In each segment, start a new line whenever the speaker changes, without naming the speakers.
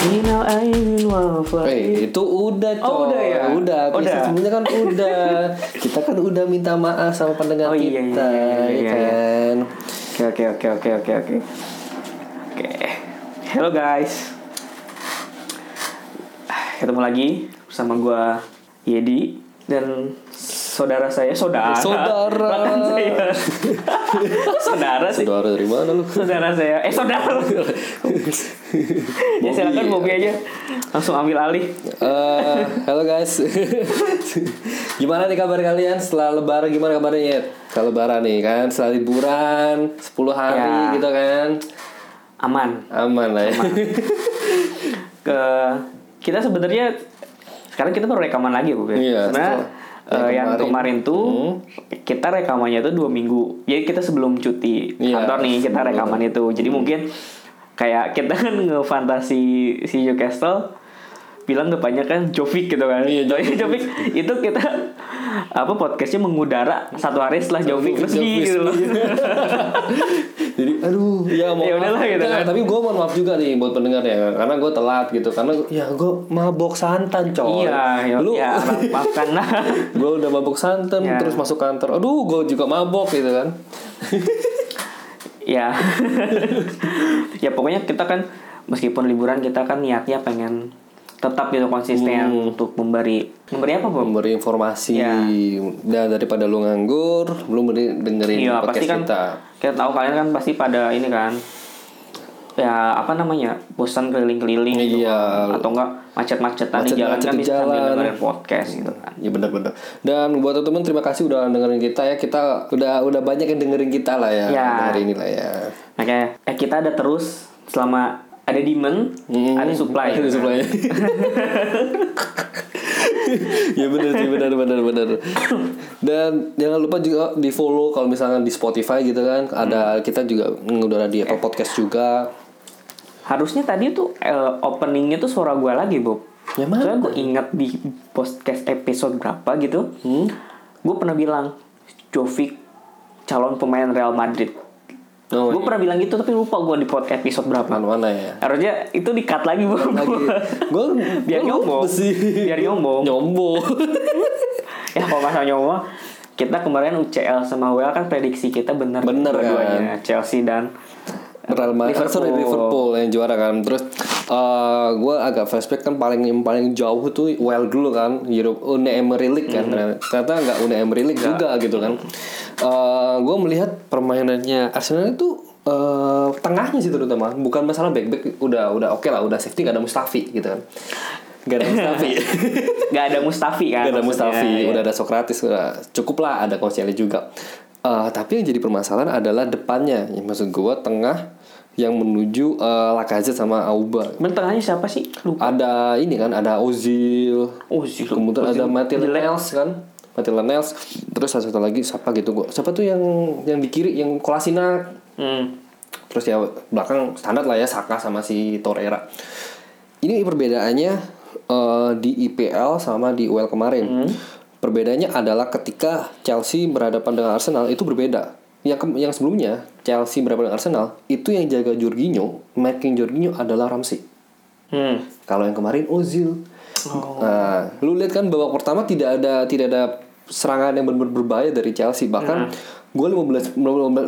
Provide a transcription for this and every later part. You know I even wanna fly.
Eh, itu udah coy.
Oh, udah ya?
Udah.
Udah.
Episode sebelumnya kan udah. kita kan udah minta maaf sama pendengar
Oh, iya, iya,
kita,
iya, iya,
ya
iya, iya.
kan?
Oke oke oke oke oke oke. Oke. Hello guys. Ketemu lagi bersama gua Yedi dan saudara saya saudara.
Saudara.
Bahkan saya. saudara sih.
Saudara dari mana lu?
Saudara saya. Eh saudara. ya silakan
Bobby.
Bobby aja. Langsung ambil alih.
Eh, halo guys. gimana nih kabar kalian setelah lebaran gimana kabarnya? Yet? Setelah lebaran nih kan, setelah liburan 10 hari
Ya.
gitu kan.
Aman.
Aman lah ya.
ke kita sebenarnya sekarang kita baru rekaman lagi ya, bu Ben.
Iya,
Karena
setelah-
eh,
yang
yang
kemarin. Hmm.
kemarin tuh kita rekamannya tuh dua minggu. Jadi kita sebelum cuti
Iya,
kantor nih kita
sebelum. Hmm.
rekaman itu. Jadi mungkin kayak kita kan ngefantasi si Newcastle bilang kebanyakan Jovic gitu kan.
Iya, Jovic.
Jovic itu kita apa podcastnya mengudara satu hari setelah Jovic resmi
Jovic
gitu loh.
Jadi aduh ya mau
Ya udahlah, gitu kan.
Tapi gue mohon maaf juga nih buat pendengarnya karena gue telat gitu karena ya gue mabok santan coy.
Iya, ya,
Oh. lu
ya maafkan lah.
gue udah mabok santan
Ya.
terus masuk kantor. Aduh gue juga mabok gitu kan.
ya ya pokoknya kita kan meskipun liburan kita kan niatnya pengen tetap gitu konsisten
Hmm.
untuk memberi memberi apa bu
Memberi informasi
Ya.
dan daripada lu nganggur belum beri- dengerin
iya
podcast
pasti kan
kita.
kita tahu kalian kan pasti pada ini kan ya apa namanya bosan keliling-keliling gitu
Iya.
kan. atau enggak macet-macetan di jalan
Macet-macet
kan
di
bisa sambil
jalan.
dengerin podcast gitu kan
Ya benar-benar. Dan buat teman-teman terima kasih udah dengerin kita ya. Kita udah udah banyak yang dengerin kita lah ya,
Ya.
hari ini lah ya.
makanya eh, kita ada terus selama ada demand ada supply
Hmm. Ada supply. ya benar sih benar benar benar. Dan jangan lupa juga di follow kalau misalkan di Spotify gitu kan.
Hmm.
Ada kita juga mengudara di Apple Podcast juga.
harusnya tadi tuh eh, openingnya tuh suara gua lagi Bob
Ya, mana?
soalnya gue ingat di podcast episode berapa gitu
Hmm?
gue pernah bilang Jovic calon pemain Real Madrid
Oh,
gue
iya.
pernah bilang gitu tapi lupa gue di podcast episode berapa
mana ya?
harusnya itu di cut lagi Bob
Lagi gue
biar nyombong biar nyombong
Nyombong.
ya kalau masalah nyombong kita kemarin UCL sama WL kan prediksi kita benar
Bener,
dua-duanya Chelsea dan eh,
kan? Real Madrid,
Liverpool.
sorry Liverpool yang juara kan. Terus eh gue agak flashback kan paling yang paling jauh tuh well dulu kan, Europe Une Emery League kan. Ternyata nggak Une Emery League juga gitu kan. Eh gue melihat permainannya Arsenal itu eh tengahnya sih terutama, bukan masalah back back udah udah oke lah, udah safety gak ada Mustafi gitu kan. Gak ada Mustafi.
nggak ada Mustafi kan
Udah ada
maksudnya.
Mustafi,
Iya.
udah ada Sokratis, udah cukup lah ada Koscielny juga. Eh, tapi yang jadi permasalahan adalah depannya, yang maksud gua tengah yang menuju eh, Lacazette sama Auba.
Bener, tengahnya siapa sih? Lupa.
Ada ini kan, ada Ozil,
Oh, sih.
kemudian ada Matilda
Jelek.
Niles kan, Matilda Niles. Terus ada satu lagi siapa gitu gua, siapa tuh yang yang di kiri, yang Kolasinac.
Hmm.
Terus ya belakang standar lah ya Saka sama si Torreira. Ini perbedaannya eh, di IPL sama di UEL kemarin. Perbedaannya adalah ketika Chelsea berhadapan dengan Arsenal itu berbeda. Yang ke- yang sebelumnya Chelsea berhadapan dengan Arsenal itu yang jaga Jorginho, marking Jorginho adalah Ramsey.
Hmm. Oh.
Kalau yang kemarin Ozil. Nah, lu lihat kan babak pertama tidak ada tidak ada serangan yang benar-benar berbahaya dari Chelsea.
Hmm.
Bahkan gue 15 15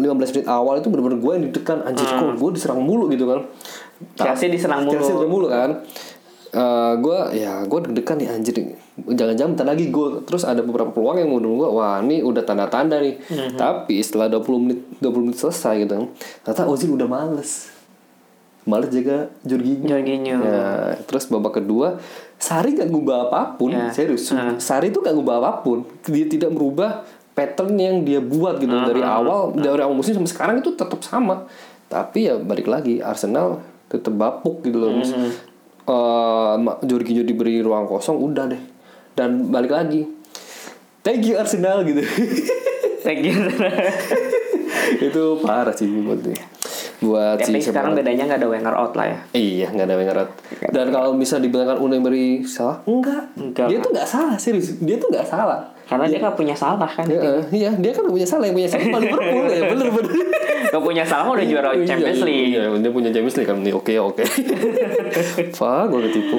menit awal itu benar-benar gue yang ditekan anjir kok gue diserang mulu gitu kan.
Hmm. Chelsea diserang mulu.
Chelsea diserang mulu kan. Eh gue ya gue deg-degan nih anjir jangan-jangan bentar lagi gol terus ada beberapa peluang yang menurut gue wah ini udah tanda-tanda nih
Hmm.
tapi setelah 20 menit 20 menit selesai gitu kan ternyata Ozil udah males males jaga Jorginho
Jorginho.
Ya, terus babak kedua Sari nggak ngubah apapun,
Ya.
serius. Sari itu nggak ngubah apapun. Dia tidak merubah pattern yang dia buat gitu dari awal dari awal musim sampai sekarang itu tetap sama. Tapi ya balik lagi Arsenal tetap bapuk gitu loh. Mas. Eh, Ma- Jorginho diberi ruang kosong udah deh. Dan balik lagi. Thank you Arsenal gitu.
Thank you.
itu parah sih buat dia. buat
Tapi
si
Ya, sekarang bedanya nggak ada Wenger out lah ya.
Iya, nggak ada Wenger out. Dan kalau bisa dibilangkan Unai salah, enggak.
Enggak.
Dia tuh nggak salah, serius. Dia tuh nggak salah.
Karena dia nggak punya salah kan.
Ya, eh, iya, dia kan nggak punya salah, yang punya salah malah Liverpool ya, bener bener.
Nggak punya salah mah udah juara
Iya,
Champions
iya,
League.
Iya, dia punya Champions League kan. Oke, oke. Wah, gue ketipu.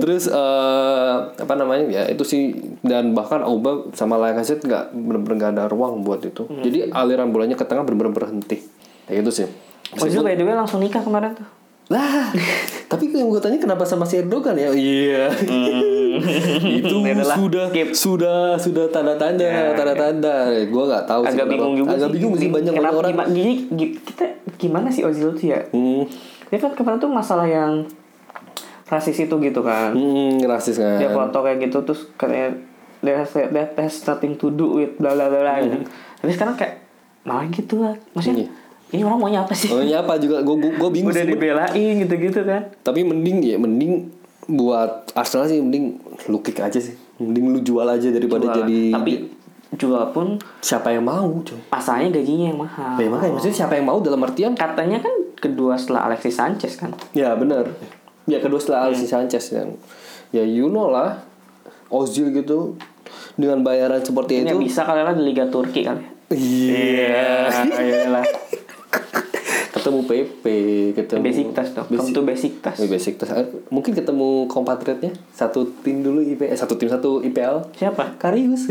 Terus eh, apa namanya? Ya itu sih dan bahkan Auba sama Lacazette nggak bener-bener nggak ada ruang buat itu. Jadi aliran bolanya ke tengah bener-bener berhenti. Ya itu sih.
Ozil by the way langsung nikah kemarin tuh.
Lah, tapi yang gue tanya kenapa sama si Erdogan ya? Iya. itu
Adalah
sudah
Hmm. Ya skip. Ya,
sudah sudah tanda-tanda, tanda-tanda. Gue nggak tahu sih
Agak
kenapa.
bingung juga
Agak
sih.
bingung sih banyak banyak
Kenapa-
orang.
gimana- jadi gi- kita gimana sih Ozil tuh ya?
Hmm,
Dia kan kemarin tuh masalah yang rasis itu gitu kan.
hmm, rasis kan.
Dia foto kayak gitu terus katanya dia that has nothing to do with bla bla bla bla gitu. Tapi sekarang kayak malah gitu lah. Maksudnya
Iya.
ini orang maunya apa sih?
Oh, ini apa juga? Gue gue bingung
Udah
sih.
dibelain gitu-gitu kan.
Tapi mending ya mending buat Arsenal sih mending lu kick aja sih. Mending lu jual aja daripada
Jual.
jadi
Tapi jual pun
siapa yang mau coy.
pasalnya gajinya yang mahal.
Ya, makanya maksudnya siapa yang mau dalam artian
Katanya kan kedua setelah Alexis Sanchez kan.
Ya benar. Ya kedua setelah
Hmm.
Alexis Sanchez dan ya you know lah Ozil gitu dengan bayaran seperti
Ini
itu.
bisa kali lah di Liga Turki kali.
Iya.
iyalah.
Ketemu PP, ketemu
Besiktas dong. Kamu
Basic-
tuh Besiktas.
Eh, Besiktas. Eh, Mungkin ketemu kompatriotnya satu tim dulu IP eh, satu tim satu IPL.
Siapa?
Karius.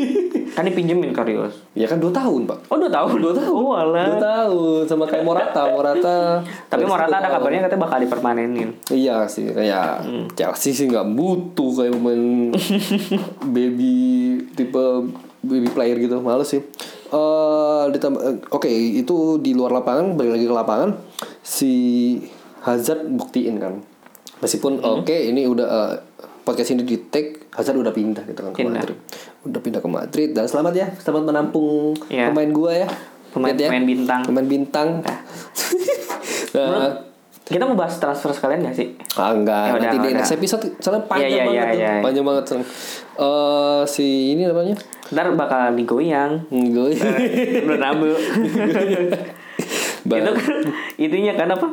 Kan dipinjemin Karius.
ya kan 2 tahun, Pak.
Oh, dua tahun. Dua tahun. Oh,
2
alah.
tahun sama kayak Morata, Morata.
Tapi
Baris
Morata
dua
ada
tahun.
kabarnya katanya bakal dipermanenin.
Iya sih, kayak
Hmm.
Chelsea sih nggak butuh kayak pemain baby tipe baby player gitu, males sih. Eh, ditambah, eh, oke itu di luar lapangan, balik lagi ke lapangan si Hazard buktiin kan. Meskipun
Hmm.
oke ini udah eh, podcast ini di take Hazard udah pindah gitu kan ke
Pindah.
Madrid. Udah pindah ke Madrid dan selamat ya, selamat menampung
Iya.
pemain gua ya.
Pemain-
Lihat ya.
pemain bintang.
Pemain bintang. Nah,
Kita mau bahas transfer sekalian gak sih?
Ah, enggak,
Ya udah,
nanti di
udah.
next episode soalnya panjang
Iya, iya,
banget,
iya,
tuh.
iya.
panjang banget soalnya. Eh, si ini namanya?
Ntar bakal digoyang.
Gue.
Eh, Menurut Abu. itu kan itunya kan apa?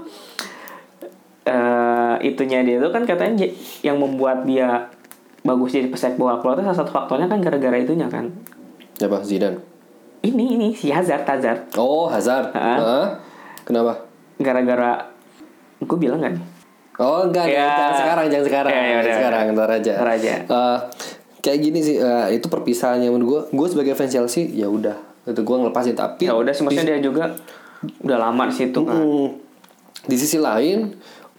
Eh, itunya dia itu kan katanya j- yang membuat dia bagus jadi pesepak bola keluar itu salah satu faktornya kan gara-gara itunya kan.
Siapa? Zidane.
Ini ini si Hazard Hazard
Oh, Hazard.
Ah.
Ah. Kenapa?
gara-gara gue bilang kan
Oh, enggak,
Ya.
enggak, jangan sekarang, jangan sekarang.
Ya, ya,
Jangan
udah,
sekarang, ntar aja.
Ntar aja.
Eh, kayak gini sih, eh, itu perpisahannya menurut gue. Gue sebagai fans Chelsea, ya udah. Itu gue ngelepasin tapi
ya udah sih maksudnya dia juga udah lama di situ kan
Hmm, di sisi lain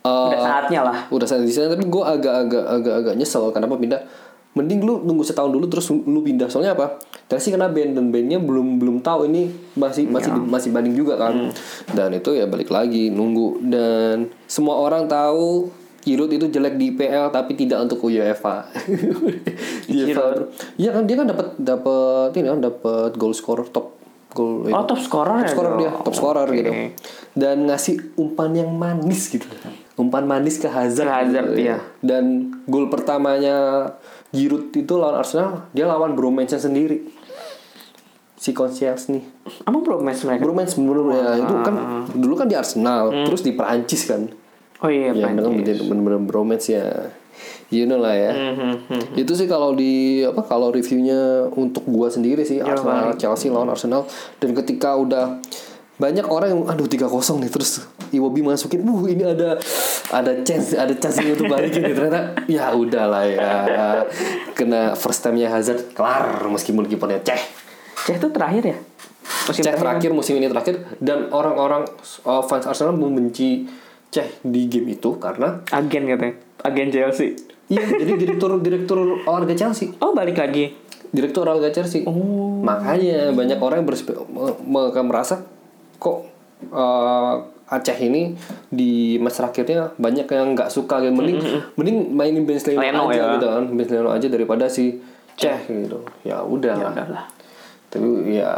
eh,
udah saatnya lah
udah saya di sana tapi gue agak-agak agak-agak nyesel kenapa pindah mending lu nunggu setahun dulu terus lu pindah soalnya apa terus sih kena band dan bandnya belum belum tahu ini masih masih
Ya.
masih banding juga
Hmm.
kan dan itu ya balik lagi nunggu dan semua orang tahu Giroud itu jelek di IPL tapi tidak untuk UEFA. Di
Giroud.
IPL. Iya kan dia kan dapat dapat ini kan dapat goal scorer top goal
oh top scorer
iya. top
ya
scorer
dong.
dia top scorer
Oke.
gitu dan ngasih umpan yang manis gitu umpan manis ke Hazard,
Ke Hazard,
gitu
iya.
ya. dan gol pertamanya Giroud itu lawan Arsenal dia lawan Bromance sendiri si Concierge nih
emang belum match mereka
Bromance menurut ya, itu kan
Ah.
dulu kan di Arsenal
Hmm.
terus di Perancis kan
oh iya
ya
Prancis.
dengan bener-bener Bromance ya you know lah ya
Mhm, mhm.
itu sih kalau di apa kalau reviewnya untuk gua sendiri sih
Ya,
Arsenal Chelsea lawan Arsenal dan ketika udah banyak orang yang aduh 3-0 nih terus Iwobi masukin uh ini ada ada chance ada chance nih untuk balikin nih." ternyata ya udahlah ya kena first time-nya Hazard kelar meskipun kipernya ceh
Ceh itu terakhir ya musim
Ceh
terakhir
terakhir musim ini terakhir dan orang-orang uh, fans Arsenal membenci Ceh di game itu karena
agen katanya agen Chelsea
iya jadi direktur direktur olahraga Chelsea Oh.
oh balik lagi
direktur olahraga Chelsea. Makanya banyak orang yang berspe- me- me- merasa kok eh, Aceh ini di match terakhirnya banyak yang nggak suka gitu. Mending mending mainin Ben Leno
Leno
aja
ya.
gitu kan. Ben Leno aja daripada si Ceh gitu. Ya udah.
ya udahlah
Tapi ya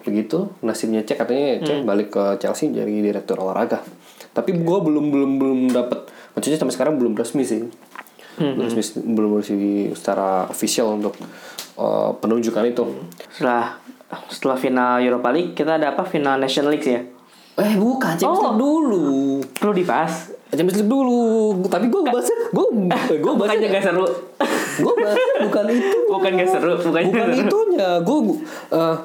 begitu nasibnya Ceh katanya Ceh balik ke Chelsea jadi direktur olahraga. Tapi gue belum belum belum dapat maksudnya sampai sekarang belum resmi sih. Belum resmi belum resmi secara official untuk eh, penunjukan itu.
setelah setelah final Europa League kita ada apa final National League ya
Eh bukan Champions League dulu.
Perlu dibahas.
Champions League dulu. Tapi gue bahasnya gue gue
Bukannya
bahasnya
gak seru.
gue bahasnya bukan itu.
Bukan gak seru. Bukannya
bukan
gak seru.
itunya gue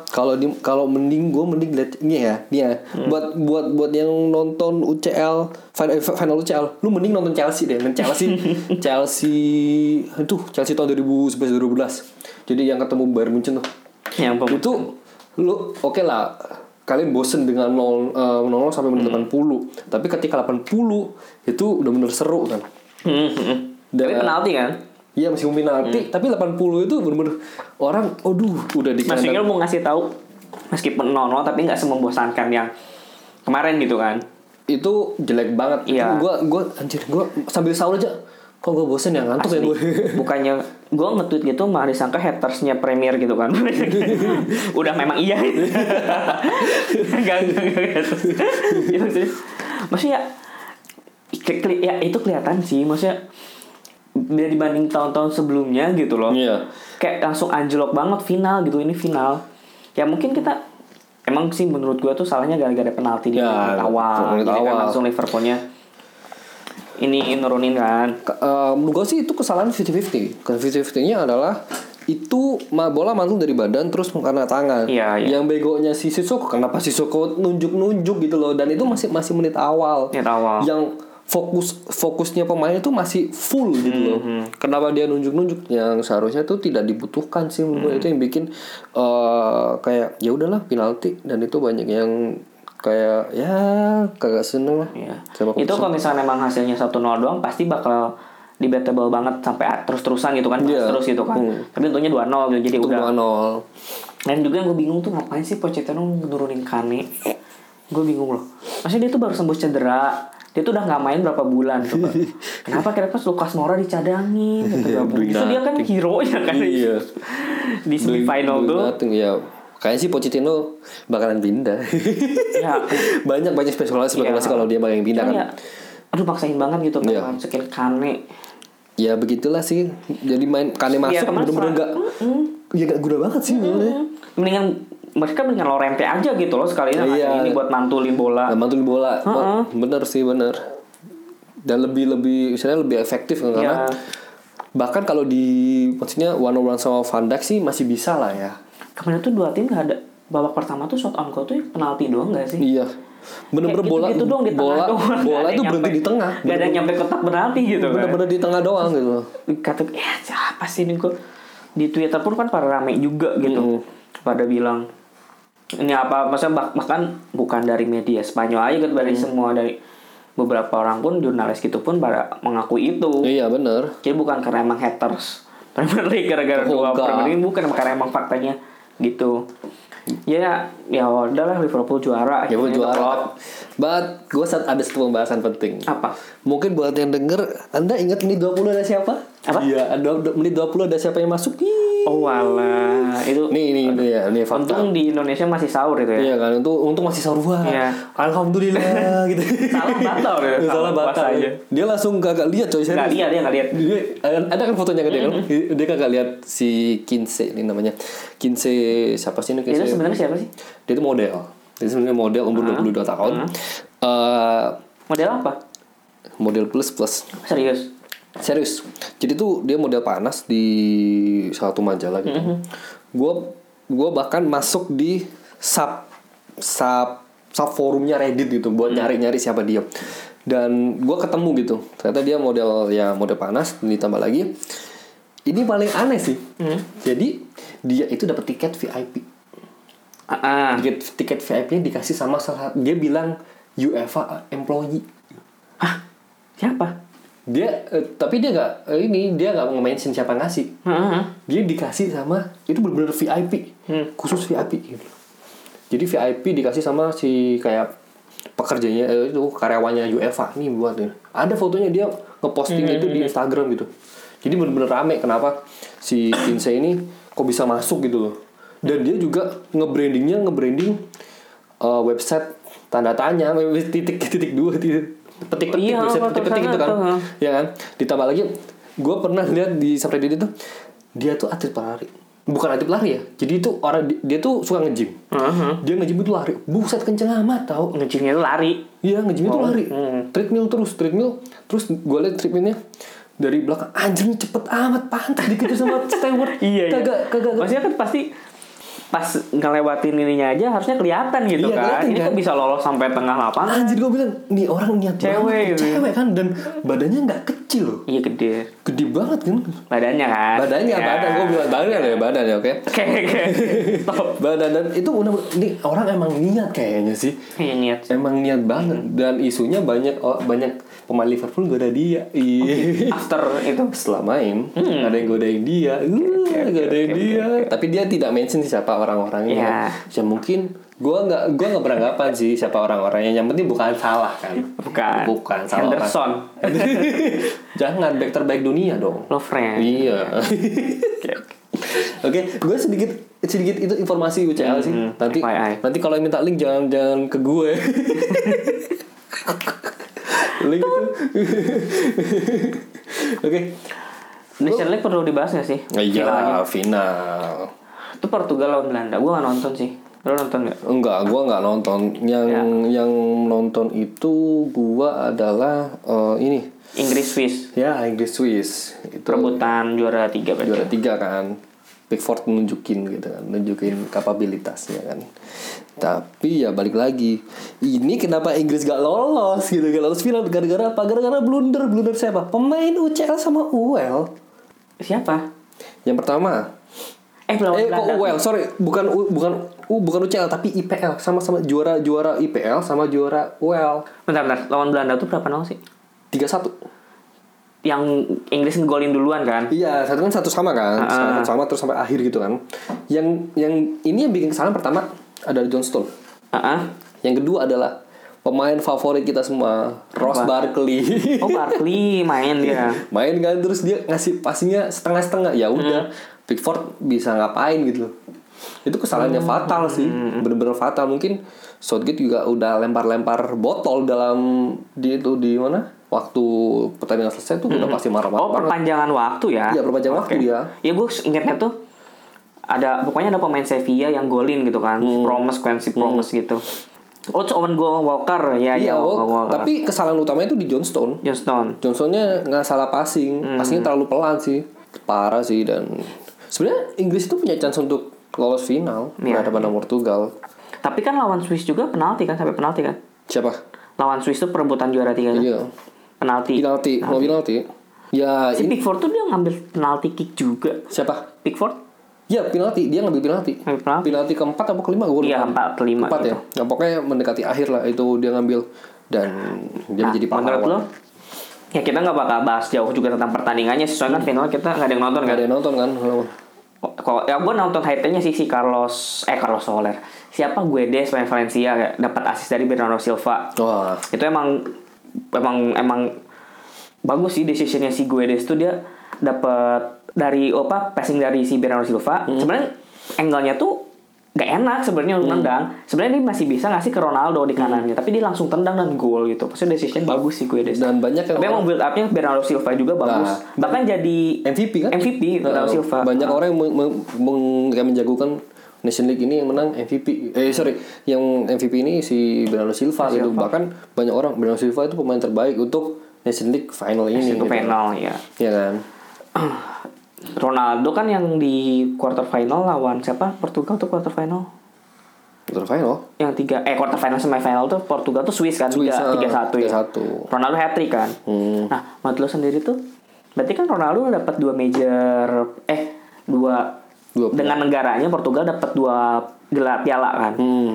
kalau di kalau mending gue mending lihat ini ya ini ya
Hmm.
buat buat buat yang nonton UCL final, eh, final UCL lu mending nonton Chelsea deh main Chelsea Chelsea itu Chelsea tahun 2011 2012 jadi yang ketemu Bayern Munchen tuh
Yang pem-
itu lu oke lah kalian bosen dengan 0 eh, 0 sampai
Hmm.
menit 80 tapi ketika 80 itu udah bener seru kan
Hmm, hmm. Tapi
Dan-
penalti kan?
Iya masih hukum
Hmm.
penalti, tapi 80 itu bener-bener orang, aduh, udah di
Mas
kandang-
Wingel mau ngasih tahu meskipun 0-0 tapi nggak semembosankan yang kemarin gitu kan.
itu jelek banget. Itu
Iya.
Gua gua anjir gua sambil sahur aja kok gua bosen ya ngantuk ya
Asli.
gue.
Bukannya gue nge-tweet gitu malah disangka hatersnya Premier gitu kan. Udah memang iya. Enggak enggak enggak. Ya, maksudnya- Maksudnya ke- keli- ya itu kelihatan sih maksudnya dari dibanding tahun-tahun sebelumnya gitu loh.
Iya.
Kayak langsung anjlok banget final gitu ini final. Ya mungkin kita emang sih menurut gue tuh salahnya gara-gara penalti di
Ya,
menit awal.
menit
Jadi kan
awal.
langsung Liverpoolnya ini nurunin kan.
Ke- eh, menurut gua sih itu kesalahan 50-50. Kesalahan 50-50-nya adalah itu ma- bola mantul dari badan terus karena tangan.
Iya, iya.
Yang begonya si Sissoko kenapa Sissoko nunjuk-nunjuk gitu loh dan itu masih masih menit awal.
Menit awal.
Yang fokus fokusnya pemain itu masih full gitu loh.
Mhm.
Kenapa dia nunjuk-nunjuk yang seharusnya itu tidak dibutuhkan sih menurut gua.
Mhm.
itu yang bikin eh, kayak ya udahlah penalti dan itu banyak yang kayak ya kagak seneng lah.
Iya.
sama
itu
keputusan.
kalau misalnya memang hasilnya 1-0 doang pasti bakal debatable banget sampai a- terus-terusan gitu kan
Iya.
terus gitu kan.
Hmm.
Tapi tentunya 2-0 gitu jadi
itu
udah.
2-0.
Dan juga yang gue bingung tuh ngapain sih Pochettino nurunin Kane? Gue bingung loh. Maksudnya dia tuh baru sembuh cedera. Dia tuh udah nggak main berapa bulan tuh. Kak. Kenapa kira-kira Lukas Moura dicadangin gitu
Iya,
gabung.
doing
Justru dia kan
nothing.
hero nya kan.
Iya.
Di semifinal
Doing-
tuh.
doing nothing, ya. Kayaknya sih Pochettino bakalan pindah.
Ya,
banyak banyak spekulasi
Iya.
spekulasi kalau dia bakal yang pindah
kan
kan.
ya, aduh maksain banget gitu
Iya.
yeah. masukin Kane.
Ya begitulah sih. Jadi main Kane
Iya, kemarin
masuk bener-bener
salah.
enggak ya enggak guna banget sih sebenarnya.
mendingan mereka mendingan Lorente aja gitu loh sekali
Iya.
ini buat mantulin bola
Nah, mantul bola.
Heeh.
Bener sih bener. Dan lebih lebih misalnya lebih efektif kan, karena
ya
bahkan kalau di maksudnya one on one sama Van Dijk sih masih bisa lah ya.
kemarin tuh dua tim gak ada babak pertama tuh shot on goal tuh penalti doang gak sih
Iya. Bener-bener bola
gitu doang di tengah
bola
doang. Nggak
bola
ada
itu
yang
berhenti
nyampe.
di tengah.
gak ada yang nyampe kotak penalti gitu kan
Bener-bener di tengah doang gitu. loh.
kata ya siapa sih ini kok di Twitter pun kan pada rame juga gitu pada bilang ini apa maksudnya bah- bahkan bukan dari media Spanyol aja gitu
Mm.
dari semua dari beberapa orang pun jurnalis gitu pun pada mengakui itu
Iya bener.
Jadi bukan karena emang haters Premier League gara-gara
Oh,
dua
enggak.
Premier League bukan karena emang faktanya gitu. Ya ya udahlah Liverpool juara.
Ya gue
akhirnya top.
juara. But gue saat ada satu pembahasan penting.
Apa?
Mungkin buat yang denger, Anda ingat menit 20 ada siapa?
Apa?
Iya, ada ada- menit 20 ada siapa yang masuk? Ih.
Oh wala itu
Nih, nih, nih, ya, nih fakta.
untung di Indonesia masih sahur itu ya.
Iya kan, untung, untung masih sahur Wah,
Iya.
Alhamdulillah gitu.
Salah batal ya,
Salah
salah puasa
batal.
aja.
Dia langsung kagak lihat coy.
Nggak
Iya, serius.
lihat dia nggak lihat.
Dia, ada kan fotonya kan dia kan? Dia kagak lihat si Kinse ini namanya. Kinse siapa sih ini?
Itu
Kinsey-
sebenarnya siapa sih?
dia itu model dia sebenarnya model umur 22 tahun Eh,
Model apa?
model plus plus
Serius.
serius jadi tuh dia model panas di satu majalah gitu gue gue bahkan masuk di sub sub sub forumnya Reddit gitu buat nyari nyari siapa dia dan gue ketemu gitu ternyata dia model ya model panas dan ditambah lagi ini paling aneh sih jadi dia itu dapat tiket VIP
Ah, ah.
tiket tiket VIP-nya dikasih sama salah dia bilang UEFA employee
Hah? Siapa?
dia eh, tapi dia nggak eh, ini dia nggak mau mention siapa ngasih
Ah, ah, ah.
dia dikasih sama itu benar-benar VIP khusus VIP gitu. jadi VIP dikasih sama si kayak pekerjanya eh, itu karyawannya UEFA nih buat ini. ada fotonya dia ngeposting itu di Instagram gitu jadi benar-benar rame kenapa si Kinsey ini kok bisa masuk gitu loh dan dia juga nge-brandingnya nge-branding eh, website tanda tanya titik titik dua titik petik petik
Iya,
website
apa
petik
tulisannya
petik gitu kan
tuh, ha.
ya kan ditambah lagi gue pernah lihat di subreddit itu dia tuh atlet pelari bukan aktif lari ya jadi itu orang di- dia tuh suka nge-gym
Heeh.
dia nge-gym itu lari buset kenceng amat tau
Ngecingnya itu lari.
iya nge-gym itu lari
hmm.
treadmill terus treadmill terus gue liat treadmillnya dari belakang anjir ini cepet amat pantas dikejar sama Stewart kagak kagak
Iya, Maksudnya kan pasti pas ngelewatin ininya aja harusnya kelihatan gitu kan.
Iya, kelihatan
Ini
kan?
kok bisa lolos sampai tengah lapangan?
anjir gue bilang nih orang niat
Cewek
banget.
gitu ya.
cewek kan dan badannya nggak kecil loh
Iya gede.
gede banget kan
Badannya kan.
badannya
Ya.
badan gue bilang badan ya badan ya oke
Oke oke. Top.
badan dan itu udah ini orang emang niat kayaknya sih
Iya niat.
emang niat banget dan isunya banyak oh, banyak pemain Liverpool goda dia Iya.
After itu.
setelah main
Hmm.
ada yang godain dia Uh, godain dia tapi dia tidak mention sih siapa
Iya.
orang-orangnya ya mungkin gua nggak gua nggak beranggapan sih siapa orang-orangnya yang penting bukan salah kan
Bukan.
bukan salah
Henderson.
orang. jangan back terbaik dunia dong
Lo friend.
iya
Oke, oke.
Oke, gue sedikit sedikit itu informasi UCL sih. Nanti
Hmm, FYI.
nanti kalau minta link jangan jangan ke gue. link itu. Oke.
Nation League perlu dibahas gak sih?
Iya.
Finalnya.
final.
Itu Portugal lawan Belanda. Gue gak nonton sih. Lo nonton gak?
Enggak, gue nggak nonton. Yang yang nonton itu gue adalah eh, ini.
Inggris Swiss.
Ya, Inggris Swiss itu
Perebutan juara tiga berarti.
juara tiga kan Pickford nunjukin gitu kan nunjukin kapabilitasnya kan tapi ya balik lagi ini kenapa Inggris gak lolos gitu gak lolos final gara-gara apa gara-gara blunder blunder siapa pemain UCL sama UEL
Siapa?
yang pertama
Eh lawan
eh kok
Belanda.
UEL sorry bukan U- bukan U, bukan UCL tapi IPL sama-sama juara juara IPL sama juara UEL
Bentar, bentar. Lawan Belanda tuh berapa nol sih?
3-1
Yang Inggris ngegolin duluan kan?
Iya, satu kan satu sama kan, satu sama terus sampai akhir gitu kan. Yang yang ini yang bikin kesalahan pertama adalah John Stone.
Heeh.
Yang kedua adalah pemain favorit kita semua, Ross Barkley.
Oh Barkley main dia.
Main kan terus dia ngasih pasinya setengah-setengah. Ya
Hmm.
udah, Pickford bisa ngapain gitu loh. Itu kesalahannya
Hmm.
fatal sih, bener-bener fatal. Mungkin Southgate juga udah lempar-lempar botol dalam di itu di mana? Waktu pertandingan selesai tuh udah pasti marah-marah
Oh
banget.
perpanjangan waktu ya?
Iya, perpanjang waktu dia.
Ya gue ingetnya tuh ada pokoknya ada pemain Sevilla yang golin gitu kan.
Hmm.
Promise Quincy Promise gitu. Oh Owen Go Walker ya ya
Iya, Wok.
Owen Walker.
tapi kesalahan utamanya itu di Johnstone.
Johnston.
Johnsonnya nggak salah passing,
Hmm.
passingnya terlalu pelan sih, parah sih dan sebenarnya Inggris itu punya chance untuk lolos final
Iya.
berhadapan dengan Portugal.
Tapi kan lawan Swiss juga penalti kan sampai penalti kan?
Siapa?
Lawan Swiss tuh perebutan juara tiga kan?
Iya.
Penalti.
Penalti,
Nah.
mau penalti. Ya,
Si
ini
Pickford tuh dia ngambil penalti kick juga.
siapa?
Pickford?
Ya, penalti, dia ngambil penalti.
Ngambil penalti.
Penalti keempat apa kelima gue
Iya empat kelima.
Keempat
gitu.
kan. ya. Nah, pokoknya mendekati akhir lah itu dia ngambil dan dia
Nah,
menjadi pahlawan.
menurut lo, ya kita nggak bakal bahas jauh juga tentang pertandingannya sih
Hmm.
soalnya kan final kita nggak ada yang nonton
Nggak
kan
ada yang nonton kan? lawan.
kalau ya gue nonton highlightnya sih si Carlos eh Carlos Soler siapa gue deh pemain Valencia kayak dapat asis dari Bernardo Silva
Wah,
itu emang emang emang bagus sih decisionnya si Guedes tuh dia dapat dari apa passing dari si Bernardo Silva
Hmm.
sebenarnya angle-nya tuh gak enak sebenarnya
Hmm.
untuk nendang sebenarnya dia masih bisa ngasih ke Ronaldo di kanannya tapi dia langsung tendang dan gol gitu maksudnya decision bagus sih Guedes
dan banyak yang
tapi emang build upnya Bernardo Silva juga bagus bahkan jadi
MVP kan?
MVP Bernardo
Nah,
Silva
Banyak orang yang meng- meng- meng- kayak menjagokan Nation League ini yang menang MVP. Eh sorry, yang MVP ini si Bernardo Silva gitu. Bahkan banyak orang Bernardo Silva itu pemain terbaik untuk Nation League final
itu
ini. gitu.
final ya
Iya kan?
Ronaldo kan yang di quarter final lawan siapa Portugal tuh quarter final
Betul final.
yang tiga eh quarter final semifinal tuh Portugal tuh Swiss kan
Swiss,
tiga
ah,
tiga satu ya
3-1.
Ronaldo hat trick kan
Hmm.
nah menurut lo sendiri tuh berarti kan Ronaldo dapat dua major eh dua,
Dua piala.
dengan negaranya Portugal dapat dua gelar piala kan
Hmm.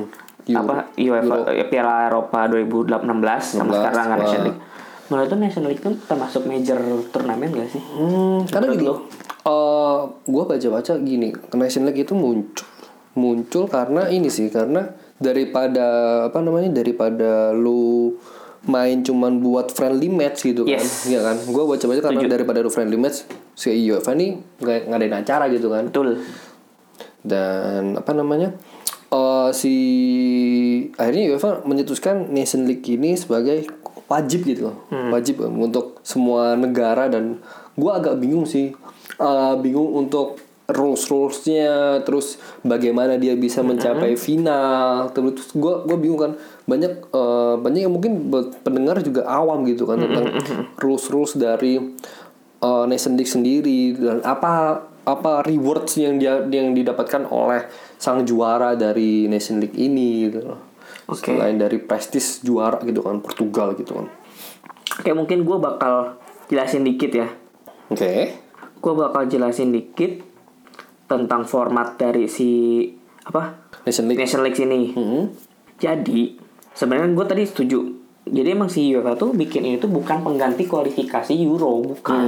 Euro.
apa UEFA eh, Piala Eropa 2016 sama
16,
sekarang kan
wah.
Nation League. Menurut lo Nation League itu termasuk major turnamen gak sih?
Hmm, karena gini, eh gue baca-baca gini, Nation League itu muncul muncul karena ini sih, karena daripada apa namanya daripada lu main cuman buat friendly match gitu kan,
Yes.
iya kan? Gue baca-baca karena daripada lu friendly match si UEFA nih nggak ngadain acara gitu kan,
Betul.
dan apa namanya eh si akhirnya UEFA menyetuskan Nation League ini sebagai wajib gitu loh wajib untuk semua negara dan gua agak eh, bingung sih Eh, bingung untuk rules rulesnya terus bagaimana dia bisa mencapai final terus gue gue bingung kan banyak eh, banyak yang mungkin buat pendengar juga awam gitu kan tentang rules rules dari eh, Nation League sendiri dan apa apa rewards yang dia yang didapatkan oleh sang juara dari Nation League ini gitu loh.
Oke.
Selain dari prestis juara gitu kan Portugal gitu kan.
Oke mungkin gue bakal jelasin dikit ya.
Oke.
Gue bakal jelasin dikit tentang format dari si apa
Nation League.
Nation League ini.
Mhm.
Jadi sebenarnya gue tadi setuju. Jadi emang si UEFA tuh bikin ini tuh bukan pengganti kualifikasi Euro
Hmm.
bukan.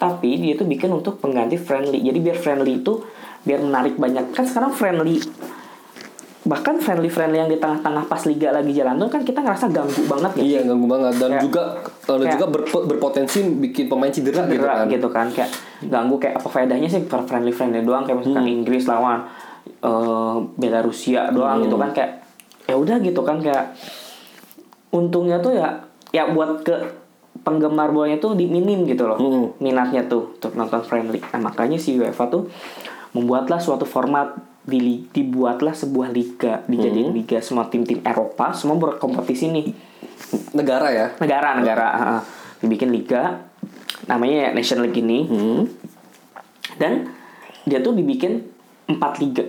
Tapi dia tuh bikin untuk pengganti friendly. Jadi biar friendly itu biar menarik banyak. Kan sekarang friendly bahkan friendly friendly yang di tengah-tengah pas liga lagi jalan tuh kan kita ngerasa ganggu banget ya.
Iya ganggu banget dan
Kayak-
juga eh, dan
kayak-
juga berp- berpotensi bikin pemain cedera, gitu
Gerak
kan.
gitu kan kayak ganggu kayak apa faedahnya sih per friendly friendly doang kayak misalkan
Hmm.
Inggris lawan eh, Belarusia doang gitu
Hmm.
kan kayak ya udah gitu kan kayak untungnya tuh ya ya buat ke penggemar bolanya tuh diminim gitu loh
Hmm.
minatnya tuh untuk nonton friendly nah makanya si UEFA tuh membuatlah suatu format di li- dibuatlah sebuah liga
Hmm.
dijadiin liga semua tim-tim Eropa semua berkompetisi nih
Negara ya.
negara-negara heeh. dibikin liga namanya ya Nation League
Hmm.
ini dan dia tuh dibikin empat liga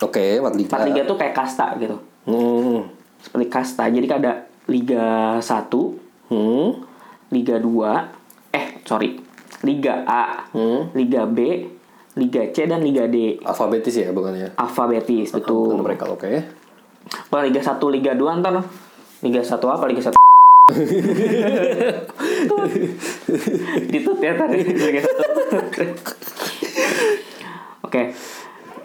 Oke, empat liga.
empat liga tuh kayak kasta gitu
Hmm.
seperti kasta jadi ada liga 1
Hmm.
liga 2 eh sorry liga A
Hmm.
liga B liga C dan liga D
Alfabetis ya bukannya.
alfabetis
Bukan
betul
mereka oke.
kalau liga 1 liga 2 ntar liga 1 apa liga 1 Ditut ya tadi Liga 1. Oke.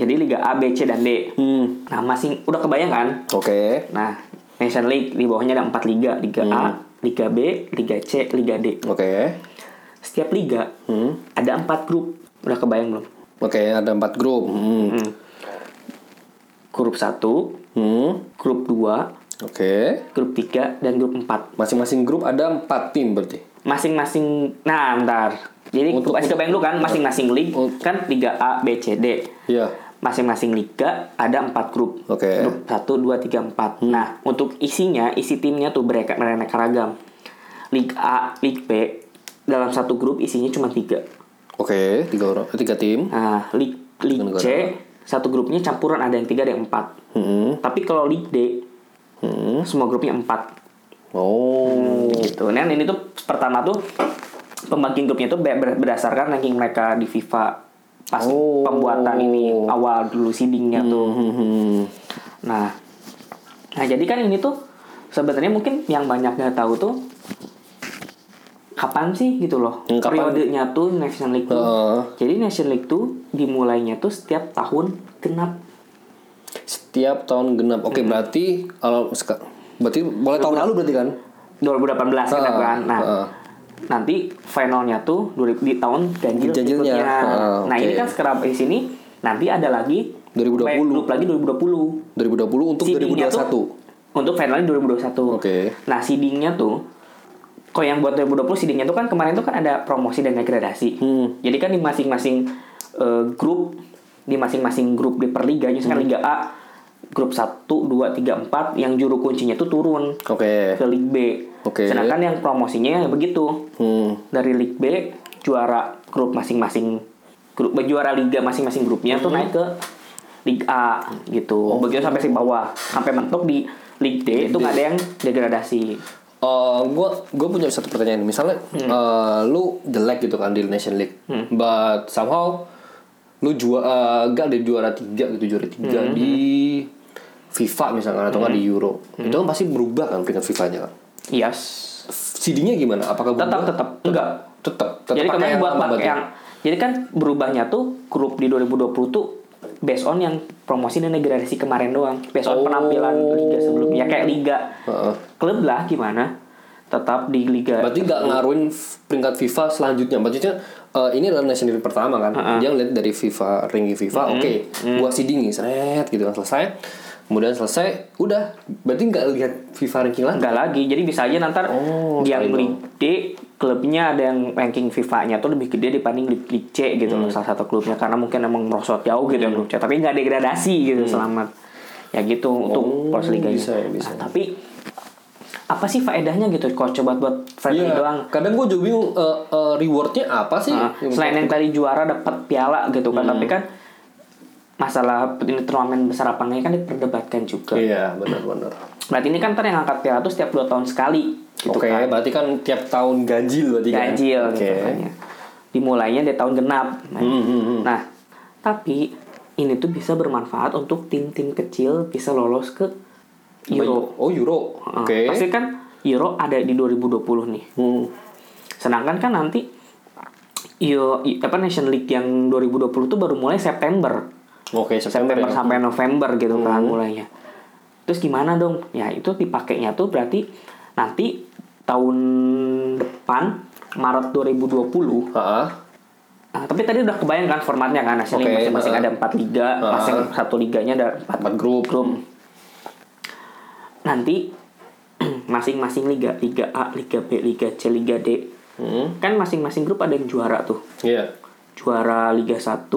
Jadi Liga A, B, C dan D.
Hmm.
Nah, masing udah kebayang kan?
Oke.
Nah, Nation League di bawahnya ada 4 liga, Liga A, Liga B, Liga C, Liga D.
Oke. Hmm.
Setiap liga ada 4 grup. Udah kebayang belum?
Oke, ada empat grup. Hmm.
Grup 1,
Hmm.
grup 2,
Oke.
grup 3 dan grup 4.
Masing-masing grup ada empat tim berarti.
Masing-masing nah, bentar. Jadi
Untuk-
masih kebayang lu kan masing-masing league
Untuk-
kan Liga A, B, C, D.
Iya.
masing-masing liga ada empat grup.
Oke. Hmm.
Grup satu, dua, tiga, empat. Nah, untuk isinya, isi timnya tuh mereka mereka ragam. Liga A, Liga B dalam satu grup isinya cuma tiga.
Oke, tiga orang, eh, tiga tim.
Nah, Liga, Liga
Negara.
C satu grupnya campuran ada yang tiga ada yang empat.
Hmm.
Tapi kalau Liga D
Hmm.
semua grupnya empat.
Oh.
Gitu. Nah, ini tuh pertama tuh pembagian grupnya tuh ber- ber- berdasarkan ranking mereka di FIFA pas
Oh.
pembuatan ini awal dulu seedingnya Iya tuh.
Hmm, Hmm.
Nah, nah jadi kan ini tuh sebenarnya mungkin yang banyak nggak tahu tuh kapan sih gitu loh
Hmm, kapan?
periodenya tuh Nation League tuh.
Heeh.
Jadi Nation League tuh dimulainya tuh setiap tahun genap.
Setiap tahun genap. Oke, berarti kalau seka- berarti boleh tahun lalu berarti kan?
2018 kita
Heeh,
kan. Nah,
heeh.
nanti finalnya tuh 2000 di tahun ganjil
Ganjilnya,
berikutnya.
ya, heeh,
Nah, ini
oke.
kan sekarang di sini nanti ada lagi
2020.
back group lagi 2020.
2020 untuk
Seedingnya
2021.
tuh untuk finalnya 2021.
Oke.
Nah, seedingnya tuh kalau yang buat 2020 seedingnya tuh kan kemarin tuh kan ada promosi dan degradasi.
Hmm.
Jadi kan di masing-masing eh, grup di masing-masing grup di per liga, misalkan
Hmm.
Liga A grup 1 2 3 4 yang juru kuncinya tuh turun
Oke.
ke Liga B.
Oke.
Sedangkan yang promosinya ya begitu.
Hmm.
Dari Liga B juara grup masing-masing grup eh, juara liga masing-masing grupnya
Mhm.
tuh naik ke Liga A
Oh.
gitu. Begitu sampai si bawah, sampai mentok di Liga D itu nggak ada yang degradasi.
Eh, gua gua punya satu pertanyaan. Misalnya
Hmm.
eh, lu jelek gitu kan di Nation League, but somehow lu juara gak di juara tiga gitu juara tiga
Hmm.
di FIFA misalkan atau nggak di Euro.
Hmm.
Itu kan pasti berubah kan peringkat FIFA-nya kan.
Yes.
Seedingnya gimana? Apakah
Tetap
berubah?
tetap enggak.
tetap tetap
Jadi
pakai
kemarin
yang
buat
lama
bak-
berarti.
yang jadi kan berubahnya tuh grup di 2020 tuh based on yang promosi dan degradasi kemarin doang. Based on
Oh.
penampilan liga sebelumnya Ya, kayak liga
Heeh.
klub lah gimana tetap di liga
Oh. Berarti nggak ngaruhin f- peringkat FIFA selanjutnya. Maksudnya eh, ini adalah Nation League pertama kan. Dia ngeliat dari FIFA ranking FIFA, oke, gua seeding nih, seret gitu kan selesai. Kemudian selesai, udah. Berarti nggak lihat FIFA ranking lagi.
Enggak lagi, jadi bisa aja nanti
Oh,
yang
sekali
Liga D klubnya ada yang ranking FIFA-nya tuh lebih gede dibanding Lig, Lig C gitu
Hmm.
loh salah satu klubnya karena mungkin emang merosot jauh gitu ya klub C tapi nggak degradasi gitu selamat ya gitu untuk pros liganya
Hmm. bisa ya, bisa.
Nah, tapi apa sih faedahnya gitu coach coba buat Freddy
Iya,
doang
kadang gue juga bingung eh, eh, rewardnya apa sih?
Nah, selain yang tadi juara dapat piala gitu
Hmm.
kan tapi kan masalah ini turnamen besar apa enggaknya kan diperdebatkan juga
Iya, benar-benar.
berarti ini kan ntar yang angkat piala tuh setiap dua tahun sekali gitu
Oke,
kan
berarti kan tiap tahun ganjil berarti kan?
ganjil
Oke.
gitu kan ya. dimulainya dari tahun genap nah,
Hmm, hmm, hmm.
nah, tapi ini tuh bisa bermanfaat untuk tim-tim kecil bisa lolos ke Euro
Oh, Euro.
Nah,
Oke.
pasti kan Euro ada di 2020 nih
Hmm.
Sedangkan kan nanti yo apa Nation League yang 2020 tuh baru mulai September.
Oke, September.
September
ya. Hmm.
sampai November gitu kan mulainya. Terus gimana dong? Ya itu dipakainya tuh berarti nanti tahun depan Maret 2020.
Ha-ha.
Nah, tapi tadi udah kebayang kan formatnya kan Nation League
Oke,
masing-masing
heeh.
ada 4 liga,
Heeh.
masing satu liganya ada 4
Empat grup.
Nanti masing-masing liga, Liga A, Liga B, Liga C, Liga D.
Hmm.
Kan masing-masing grup ada yang juara tuh.
Iya.
juara Liga 1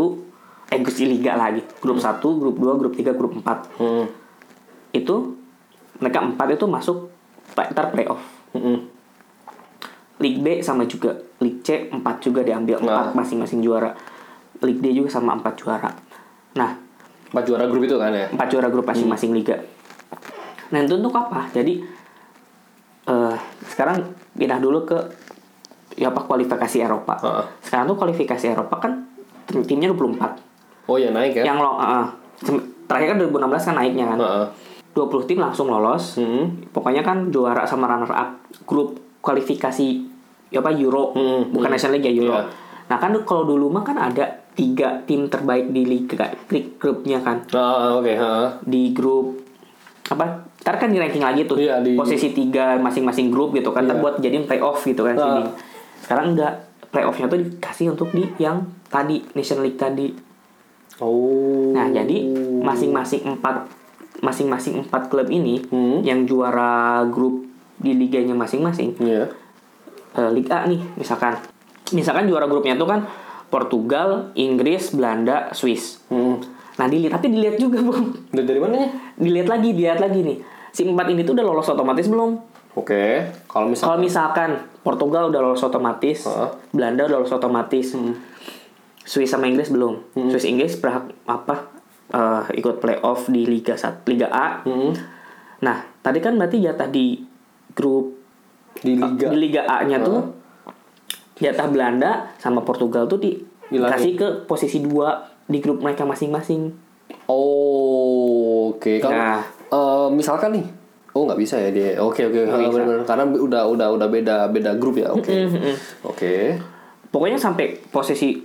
eh gusti Liga lagi grup 1 grup 2 grup 3 grup 4
Hmm.
itu mereka 4 itu masuk play- ntar playoff
Hmm.
League B sama juga League C 4 juga diambil 4
Nah.
masing-masing juara League D juga sama 4 juara nah
Empat juara grup itu kan ya?
4 juara grup masing-masing liga nah itu untuk apa jadi eh, sekarang pindah dulu ke ya apa kualifikasi Eropa
Heeh.
sekarang tuh kualifikasi Eropa kan tim- timnya 24
Oh ya naik ya? Ah.
yang lo ah, ah. Sem- terakhir kan 2016 kan naiknya kan
Ha-ha.
20 tim langsung lolos
Hmm.
pokoknya kan juara sama runner up grup kualifikasi ya apa Euro
Hmm,
bukan National League ya Euro
Iya.
nah kan du- kalau dulu mah kan ada tiga tim terbaik di liga di grupnya kan
Ah, oke. ha-ha.
di grup apa ntar kan di ranking lagi tuh
Iya, di-
posisi tiga masing-masing grup gitu kan ntar
Iya.
buat jadiin playoff gitu kan
Ah.
sini sekarang enggak playoffnya tuh dikasih untuk di yang tadi National League tadi
Oh.
Nah, jadi masing-masing empat masing-masing empat klub ini
Hmm.
yang juara grup di liganya masing-masing
Iya.
eh, Liga A nih misalkan. Misalkan juara grupnya itu kan Portugal, Inggris, Belanda, Swiss.
Hmm.
Nah, dilihat tapi dilihat juga, Bung.
Dari, dari mananya?
Dilihat lagi, dilihat lagi nih. Si empat ini tuh udah lolos otomatis belum?
Oke. Kalau misalnya
Kalau misalkan Portugal udah lolos otomatis,
Heeh. Hmm.
Belanda udah lolos otomatis, Swiss sama Inggris belum. Swiss Inggris berhak apa eh, ikut playoff di Liga 1, Liga A.
Hmm.
Nah, tadi kan berarti jatah di grup
di liga
di Liga A-nya tuh jatah Belanda sama Portugal tuh di
Hilangin.
kasih ke posisi dua di grup mereka masing-masing.
Oh, oke. Kalau
Nah.
eh, misalkan nih, oh nggak bisa ya dia. Oke oke,
Nggak bisa.
benar-benar. karena udah udah udah beda beda grup ya. Oke oke.
Pokoknya sampai posisi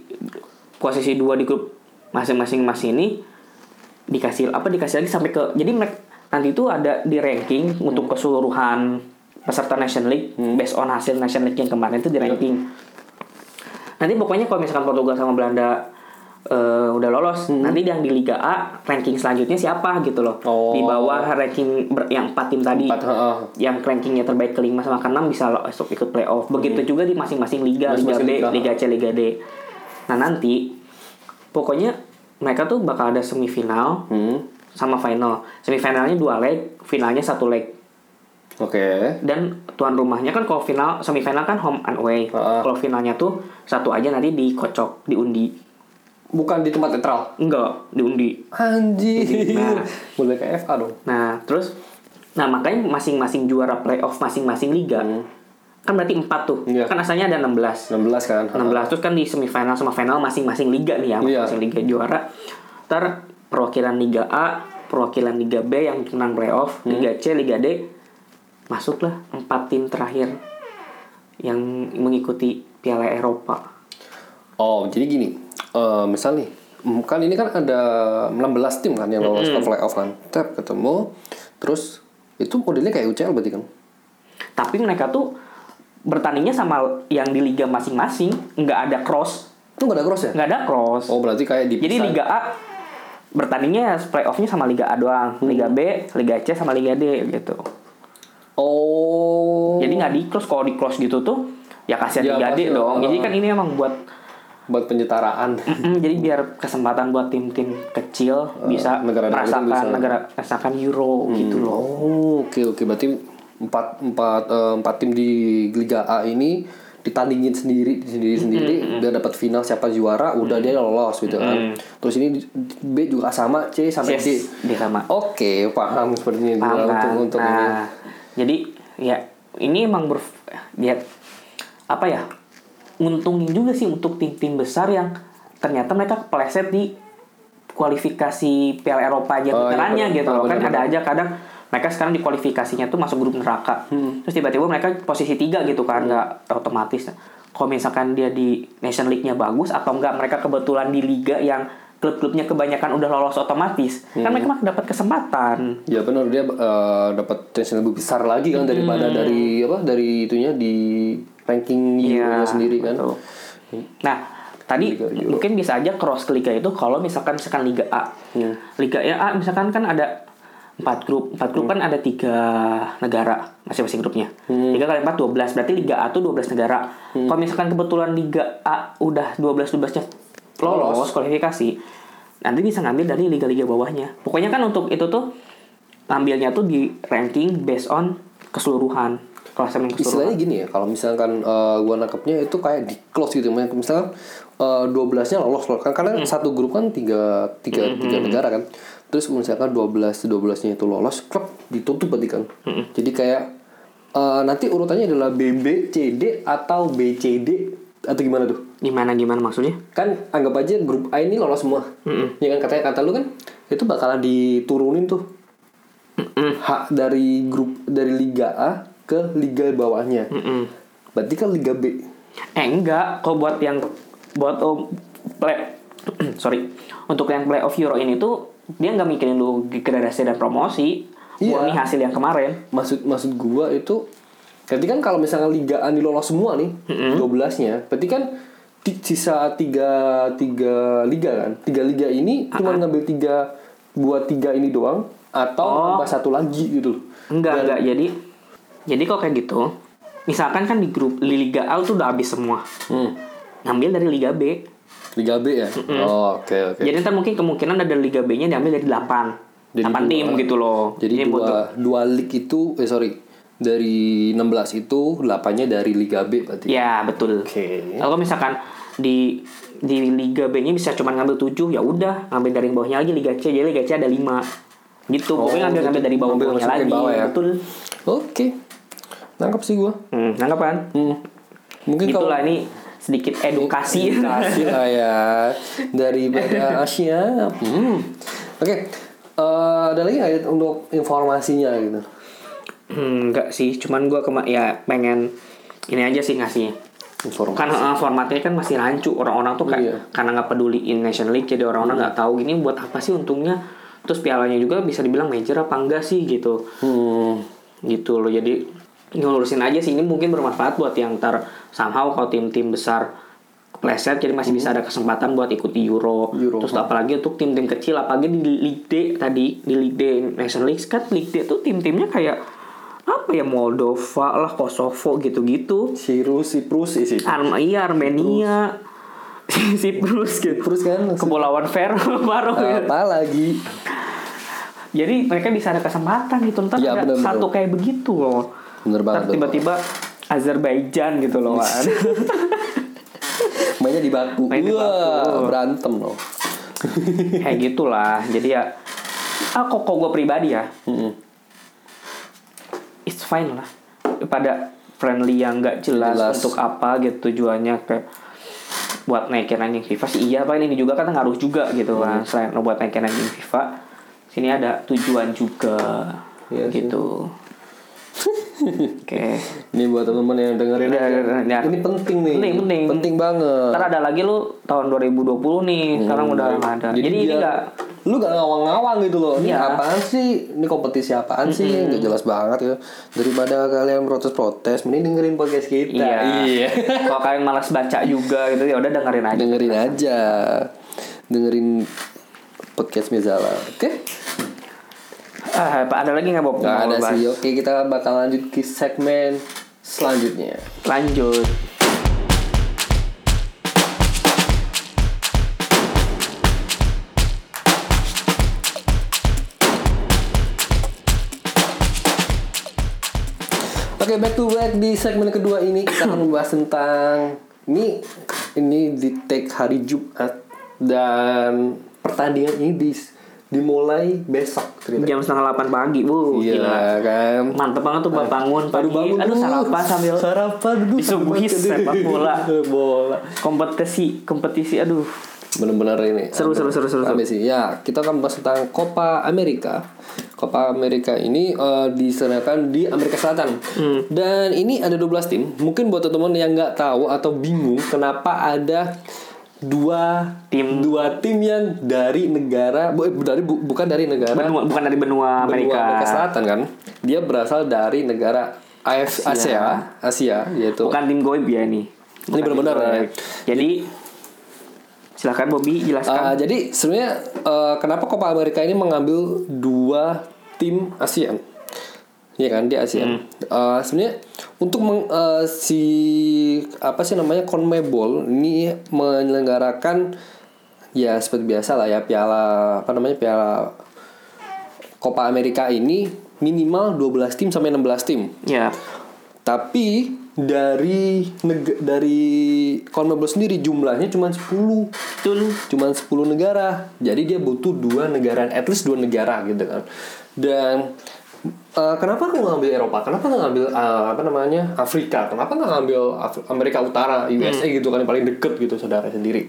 posisi dua di grup masing-masing mas ini dikasih apa dikasih lagi sampai ke jadi mereka nanti itu ada di ranking untuk
Hmm.
keseluruhan peserta Nation League based on hasil Nation League yang kemarin itu di
Iya.
ranking. Nanti pokoknya kalau misalkan Portugal sama Belanda eh, udah lolos,
Hmm.
nanti yang di Liga A ranking selanjutnya siapa gitu loh.
Oh.
Di bawah ranking ber- yang 4 tim tadi.
Empat, heeh.
Yang rankingnya terbaik kelima sama keenam bisa masuk ikut playoff. Begitu juga di masing-masing liga, Liga
Iya. Masing-masing
B,
liga.
Liga C, Liga D. Nah, nanti pokoknya mereka tuh bakal ada semifinal
Hmm.
sama final. Semifinalnya dua leg, finalnya satu leg.
Oke.
Dan tuan rumahnya kan kalau final semifinal kan home and away.
Heeh.
Kalau finalnya tuh satu aja nanti dikocok, diundi.
Bukan di tempat netral.
Enggak, diundi.
Anjir.
Nah.
Boleh ke FA dong.
Nah, terus nah makanya masing-masing juara playoff masing-masing liga kan berarti 4 tuh.
Hmm. Iya.
Kan asalnya ada 16.
16 kan. ha.
16 terus kan di semifinal sama final masing-masing liga nih ya,
Iya.
masing-masing liga juara. Ntar perwakilan Liga A, perwakilan Liga B yang menang playoff,
Hmm.
Liga C, Liga D masuklah 4 tim terakhir yang mengikuti Piala Eropa.
Oh, jadi gini. Eh misal nih, mm, kan ini kan ada 16 tim kan yang lolos ke playoff kan. Tap ketemu, terus itu modelnya kayak UCL berarti kan?
Tapi mereka tuh bertandingnya sama yang di liga masing-masing, nggak ada cross,
Itu nggak ada cross ya?
nggak ada cross.
Oh, berarti kayak di
Jadi Liga A bertandingnya playoffnya sama Liga A doang, Liga
Hmm.
B, Liga C sama Liga D gitu.
Oh.
Jadi nggak di cross kalau di cross gitu tuh ya kasihan
Ya,
digade
pasti.
dong. Jadi
Oh.
kan ini emang buat
buat penyetaraan
Mm, jadi biar kesempatan buat tim-tim kecil bisa
negara-negara itu
merasakan
bisa.
negara merasakan Euro gitu loh.
oh oke oke berarti empat empat eh, empat tim di Liga A ini ditandingin sendiri sendiri sendiri udah dapat final siapa juara udah dia lolos gitu kan terus ini di- B juga sama C sampai D
Yes, dia sama.
Oke, paham sepertinya juga
Paham kan?
untuk Iya, untuk ini.
nah, jadi ya ini emang ber ya apa ya? Untungin juga sih untuk tim-tim besar yang ternyata mereka kepleset di kualifikasi Piala Eropa aja
Oh, iya,
putarannya
benar.
gitu loh.
Ah,
Kan
benar,
ada aja kadang mereka sekarang di kualifikasinya tuh masuk grup neraka.
Hmm.
Terus tiba-tiba mereka posisi tiga gitu kan nggak otomatis. Kalau misalkan dia di Nation League-nya bagus atau enggak mereka kebetulan di liga yang klub-klubnya kebanyakan udah lolos otomatis. Kan
Hmm.
mereka mah dapat kesempatan.
Ya benar dia eh, dapat chance yang lebih besar lagi kan daripada
Hmm.
dari apa dari itunya di ranking Euro-nya
Iya,
sendiri kan.
betul. Nah, tadi
Liga Euro.
mungkin bisa aja cross ke liga itu kalau misalkan misalkan liga A.
Iya.
Liga A misalkan kan ada empat grup, empat
Iya.
grup kan ada tiga negara masing-masing grupnya.
Iya.
Tiga kali empat 12 berarti liga A tuh 12 negara. Kalau misalkan kebetulan liga A udah 12 12 nya lolos,
Lolos.
kualifikasi, nanti bisa ngambil dari liga-liga bawahnya. Pokoknya kan untuk itu tuh ngambilnya tuh di ranking based on keseluruhan klasemen keseluruhan.
Istilahnya gini ya, kalau misalkan eh, gua nangkepnya itu kayak di close gitu. Misalkan eh, 12-nya lolos loh kan
Hmm.
karena satu grup kan tiga tiga tiga negara kan. Terus misalkan 12 12-nya itu lolos, klub ditutup berarti kan.
Hmm.
Jadi kayak eh, nanti urutannya adalah B B C D atau B C D atau gimana tuh?
Gimana gimana maksudnya?
kan anggap aja grup A ini lolos semua ya kan katanya kata lu kan itu bakalan diturunin tuh hak dari grup dari Liga A ke Liga bawahnya
Mm.
berarti kan Liga B
Eh enggak, kalau buat yang buat oh, play sorry untuk yang playoff Euro ini tuh dia nggak mikirin dulu degradasi dan promosi.
Iya.
Murni hasil yang kemarin.
maksud maksud gua itu berarti kan kalau misalnya Liga A ini lolos semua nih 12-nya berarti kan ti- sisa tiga tiga liga kan tiga liga ini
Ah,
cuma ngambil tiga buat tiga ini doang atau
Oh.
tambah satu lagi gitu loh
Enggak,
Dan-
enggak. Jadi jadi kalau kayak gitu, misalkan kan di grup di Liga A tuh udah habis semua.
Hmm.
Ngambil dari Liga B.
Liga B ya? Oh, oke oke.
Jadi ntar mungkin kemungkinan ada Liga B-nya diambil dari 8.
Jadi
8 tim
dua.
gitu loh.
Jadi
butuh-
dua dua lig itu eh sorry dari 16 itu 8-nya dari Liga B berarti.
Ya, betul.
Oke.
Kalau misalkan di di Liga B-nya bisa cuma ngambil 7, ya udah, ngambil dari yang bawahnya lagi Liga C, jadi Liga C ada 5. Gitu,
Oh,
pokoknya ngambil ngambil dari bawah
ngambil
bawahnya lagi.
langsung ke bawah ya.
Betul.
Oke. Nangkap sih gua.
Hmm, nangkep kan?
Hmm. Mungkin
Gitulah ini sedikit edukasi.
Edukasi lah ya dari Asia. Hmm. Oke. Eh, ada lagi nggak ya untuk informasinya gitu?
Hmm, enggak sih, cuman gua kema ya pengen ini aja sih ngasihnya.
Informasi.
Kan eh, formatnya kan masih rancu orang-orang tuh kayak
Iya.
karena nggak peduliin Nation League jadi orang-orang nggak tahu ini buat apa sih untungnya. Terus pialanya juga bisa dibilang major apa enggak sih gitu.
Hmm.
gitu loh jadi ngelurusin aja sih ini mungkin bermanfaat buat yang ntar somehow kalau tim-tim besar kepleset jadi masih bisa ada kesempatan buat ikut di Euro.
Hmm. Euro.
terus apalagi untuk tim-tim kecil apalagi di League D tadi di League D Nation League kan League D tuh tim-timnya kayak apa ya Moldova lah Kosovo gitu-gitu
Sirus, Siprus, isi.
Arm iya Armenia Siprus gitu
Siprus kan.
Kepulauan Fero baru gitu.
Apa lagi?
Jadi mereka bisa ada kesempatan gitu ntar
Iya,
ada
bener-bener.
satu kayak begitu loh.
Bener
Ntar
banget, bener
tiba-tiba Azerbaijan gitu loh. Wan.
Mainnya di Baku.
Main di
Wah,
Baku.
berantem loh.
kayak gitulah. Jadi ya ah kok gue pribadi ya
Mm-mm.
it's fine lah. Pada friendly yang nggak jelas,
Jelas.
untuk apa gitu tujuannya ke buat naikin ranking FIFA sih iya pak ini juga kan ngaruh juga gitu
Iya.
kan selain lo buat naikin ranking FIFA sini ada tujuan juga
Iya sih.
gitu oke
Ini buat teman-teman yang dengerin
Udah,
aja.
udah, udah.
Ini penting nih.
iya, Penting, penting.
banget.
Ntar ada lagi lu tahun 2020 nih,
Iya.
sekarang udah nggak ada. Nah, Jadi, ini
biar-
enggak
lu gak ngawang-ngawang gitu loh. Ini
Iya.
apaan sih? Ini kompetisi apaan sih? Gak jelas banget ya. Daripada kalian protes-protes, mending dengerin podcast kita.
iya.
Iya.
Kalau kalian malas baca juga gitu ya udah dengerin aja.
dengerin aja. Dengerin podcast Mezala. Oke?
Ah, Pak, ada lagi nggak Bob?
Gak
Mau
ada
bahas?
sih. Oke, kita bakal lanjut ke segmen selanjutnya.
Lanjut.
Oke, back to back di segmen kedua ini kita akan membahas tentang ini ini di take hari Jumat dan pertandingan ini dis- dimulai besok ternyata.
jam setengah delapan pagi bu
Gitu. Iya
gila
kan.
mantep banget tuh bangun pagi
Baru bangun
aduh
dulu.
sarapan sambil
sarapan dulu.
disuguhi sepak bola.
bola.
kompetisi kompetisi aduh
Bener-bener ini.
Seru, seru, seru, seru,
Rame sih. Ya, kita akan bahas tentang Copa America. Copa America ini eh, diselenggarakan di Amerika Selatan.
Hmm.
Dan ini ada 12 tim. Mungkin buat teman-teman yang nggak tahu atau bingung kenapa ada dua
Tim.
dua tim yang dari negara bu- eh, dari bu- bukan dari negara
benua bukan dari benua Amerika,
Benua Amerika Selatan kan. Dia berasal dari negara AF Asia, Asia yaitu.
bukan tim goib ya ini
Ini ya. benar-benar.
Goib. jadi silahkan Bobby jelaskan
Uh, jadi sebenarnya uh, kenapa Copa America ini mengambil dua tim ASEAN? Iya kan di ASEAN. Uh, sebenarnya untuk meng- uh, si apa sih namanya CONMEBOL ini menyelenggarakan ya seperti biasa lah ya piala apa namanya piala Copa America ini minimal 12 tim sampai 16 tim.
ya
Tapi dari neg- dari CONMEBOL sendiri jumlahnya cuma 10
Tul.
cuman 10 negara. Jadi dia butuh dua negara, at least dua negara gitu kan. Dan eh, kenapa nggak ngambil Eropa? Kenapa nggak ngambil eh, apa namanya Afrika? Kenapa nggak ngambil Af- Amerika Utara, USA gitu kan yang paling deket gitu saudara sendiri?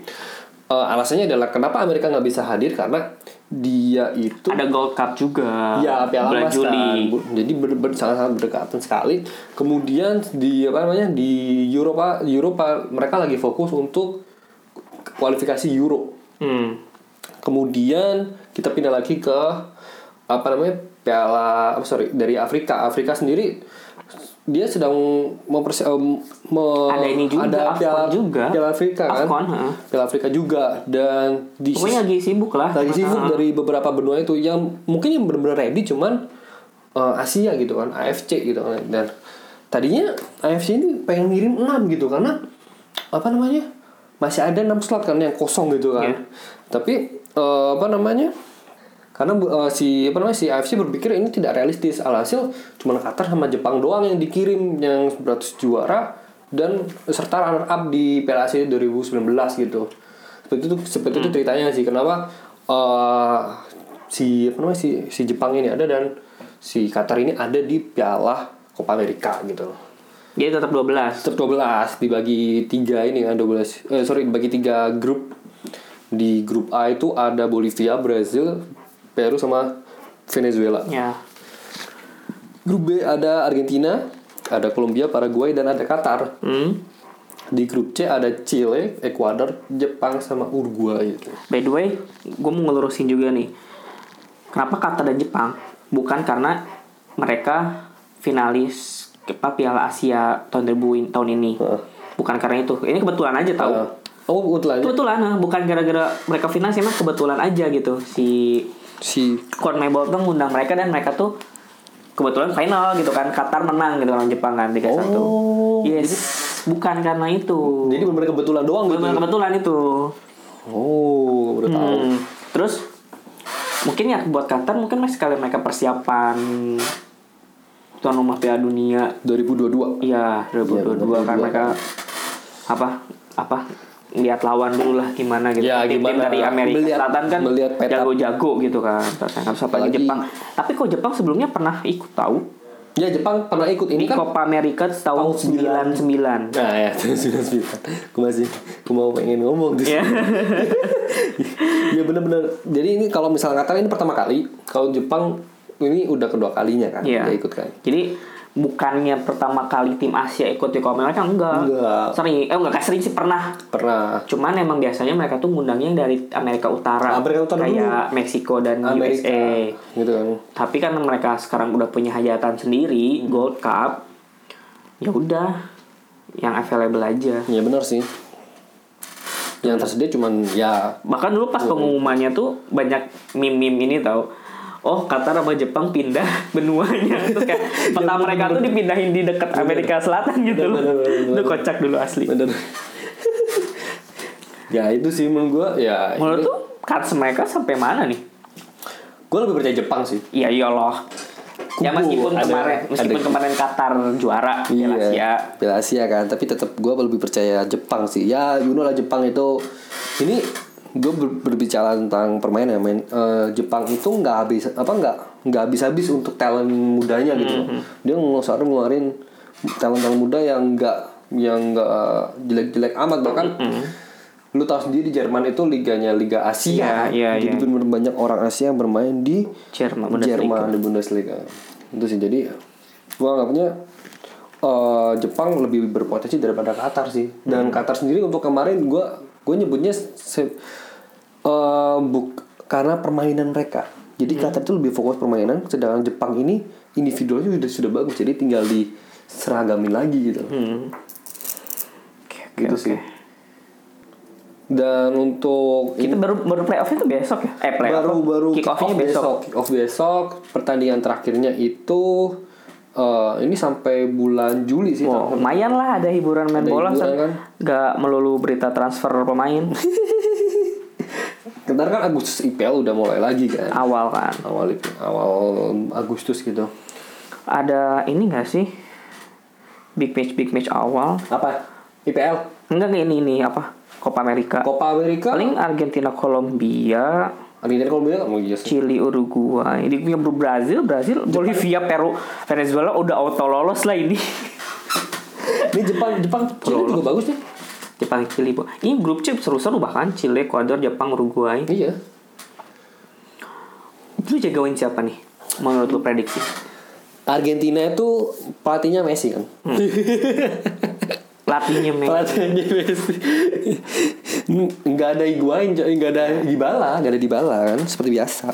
Eh, alasannya adalah kenapa Amerika nggak bisa hadir karena dia itu
ada Gold Cup juga
Ya, Piala
bulan
Mas kan.
Juli
Bu- Jadi ber, ber- sangat-sangat berdekatan sekali. Kemudian di apa namanya? Di Eropa Eropa mereka lagi fokus untuk kualifikasi Euro.
hmm.
Kemudian kita pindah lagi ke apa namanya piala oh, sorry dari Afrika. Afrika sendiri dia sedang mempersi em, me-
Ada ini juga,
Oh, ada
Afcon
piala
juga.
piala Afrika kan
Afcon, ha.
piala Afrika juga dan di
pokoknya lagi sibuk lah
lagi sibuk
Ah,
dari beberapa benua itu yang mungkin yang benar-benar ready cuman eh, Asia gitu kan AFC gitu kan dan tadinya AFC ini pengen ngirim 6 gitu karena apa namanya masih ada 6 slot kan yang kosong gitu kan
Iya.
tapi eh, apa namanya karena eh, si apa namanya si AFC berpikir ini tidak realistis alhasil cuma Qatar sama Jepang doang yang dikirim yang 100 juara dan serta runner up di Piala Asia 2019 gitu seperti itu seperti itu ceritanya sih kenapa eh, si apa namanya si si Jepang ini ada dan si Qatar ini ada di Piala Copa America gitu
jadi tetap 12
tetap 12 dibagi tiga ini kan 12 eh, sorry dibagi tiga grup di grup A itu ada Bolivia, Brazil, Peru sama Venezuela.
ya
Grup B ada Argentina, ada Kolombia, Paraguay dan ada Qatar.
hmm.
Di grup C ada Chile, Ekuador, Jepang sama Uruguay gitu.
By the way, gue mau ngelurusin juga nih. Kenapa Qatar dan Jepang? Bukan karena mereka finalis apa Piala Asia tahun 2000 in- tahun ini.
Heeh.
Bukan karena itu. Ini kebetulan aja tahu.
Nah, oh, kebetulan aja
Kebetulan, nah, bukan gara-gara mereka finalis, emang kebetulan aja gitu. Si
si
CONMEBOL tuh ngundang mereka dan mereka tuh kebetulan final gitu kan. Qatar menang gitu lawan Jepang kan 3-1.
Oh,
yes. Bukan karena itu.
jadi benar kebetulan doang gitu.
Kebetulan, kebetulan itu.
Oh, udah tahu.
Hmm, Terus mungkin ya buat Qatar mungkin mas sekali mereka persiapan tuan rumah Piala Dunia
2022.
ya 2022
Iya,
kan
2022.
mereka apa apa lihat lawan dulu lah gimana gitu.
Ya,
Tim-tim
gimana.
dari Amerika
Melihat-
Selatan kan
melihat peta.
jago-jago gitu kan. Terus kan siapa lagi
Apalagi-
Jepang. Tapi kok Jepang sebelumnya pernah ikut tahu
Ya Jepang pernah ikut
di
ini kan
Copa America tahun
tahun
99.
Nah ya sudah sudah. Gue masih gue mau pengen ngomong tuh.
Iya.
ya benar-benar. Jadi ini kalau misalnya Qatar ini pertama kali, kalau Jepang ini udah kedua kalinya kan,
Iya.
dia ikut kan.
Jadi bukannya pertama kali tim Asia ikut di Copa America enggak.
Enggak.
Sering, eh enggak sering sih pernah.
Pernah.
Cuman emang biasanya mereka tuh ngundangnya yang dari Amerika Utara.
Amerika Utara
kayak Meksiko dan
Amerika
USA.
gitu kan.
Tapi karena mereka sekarang udah punya hajatan sendiri,
Hmm.
Gold Cup. Ya udah yang available aja.
Ya benar sih. Yang tersedia cuman ya
Bahkan dulu pas pengumumannya tuh banyak meme-meme ini tau Oh Qatar sama Jepang pindah benuanya Terus kayak peta mereka tuh dipindahin di dekat Amerika Selatan gitu loh
Bener, bener, bener.
Itu kocak dulu asli
benar. ya itu sih menurut gue ya.
Menurut tuh kans mereka sampai mana nih?
Gue lebih percaya Jepang sih.
Ya iyalah ya
kubu,
meskipun
ada-
kemarin meskipun
ada-
kemarin Qatar juara ya Piala Asia
Iya, Piala Asia kan, tapi tetap gue lebih percaya Jepang sih. Ya, you know lah Jepang itu ini gue berbicara tentang permainan, main Eh, Jepang itu nggak habis apa nggak nggak habis-habis untuk talent mudanya gitu.
Mm-hmm.
Dia ngeluarin ngeluarin talent-talent muda yang nggak yang nggak jelek-jelek amat bahkan.
Mm-hmm.
Lu tahu sendiri Jerman itu liganya Liga
Iya,
Asia.
iya, iya.
Jadi bener-bener banyak orang Asia yang bermain di
Jerman Bundesliga.
Jerman di Bundesliga itu sih jadi gua anggapnya eh, Jepang lebih berpotensi daripada Qatar sih dan
Hmm.
Qatar sendiri untuk kemarin gua gue nyebutnya se- eh, buk- karena permainan mereka
Hmm.
jadi Qatar itu lebih fokus permainan sedangkan Jepang ini individualnya sudah sudah bagus jadi tinggal diseragamin lagi gitu
Hmm. Oke, oke,
gitu
oke.
sih dan untuk
kita baru baru playoff itu besok ya eh playoff
baru
apa?
baru
kick off-nya besok
kick off besok pertandingan terakhirnya itu eh, ini sampai bulan Juli sih
Wow, Gitu. lumayan lah ada hiburan main
Oh. Ada
bola
hiburan
San.
kan?
Nggak melulu berita transfer pemain
ntar kan Agustus IPL udah mulai lagi kan
awal kan
awal awal Agustus gitu
ada ini nggak sih big match big match awal
apa IPL
enggak kayak ini ini apa Copa America
Copa America
paling Argentina Kolombia
Argentina Kolombia nggak mau iya sih.
Chili Uruguay ini punya Brazil Brazil Bolivia Peru Venezuela udah auto lolos lah ini
ini Jepang Jepang Chile juga bagus nih
Jepang Chili Bo- ini grup C seru-seru bahkan Chile Ecuador Jepang Uruguay
iya
itu jagoin siapa nih menurut lu prediksi
Argentina itu pelatihnya Messi kan
pelatihnya Messi
pelatihnya Messi nggak ada Higuain nggak ada Dybala nggak ada Dybala kan seperti biasa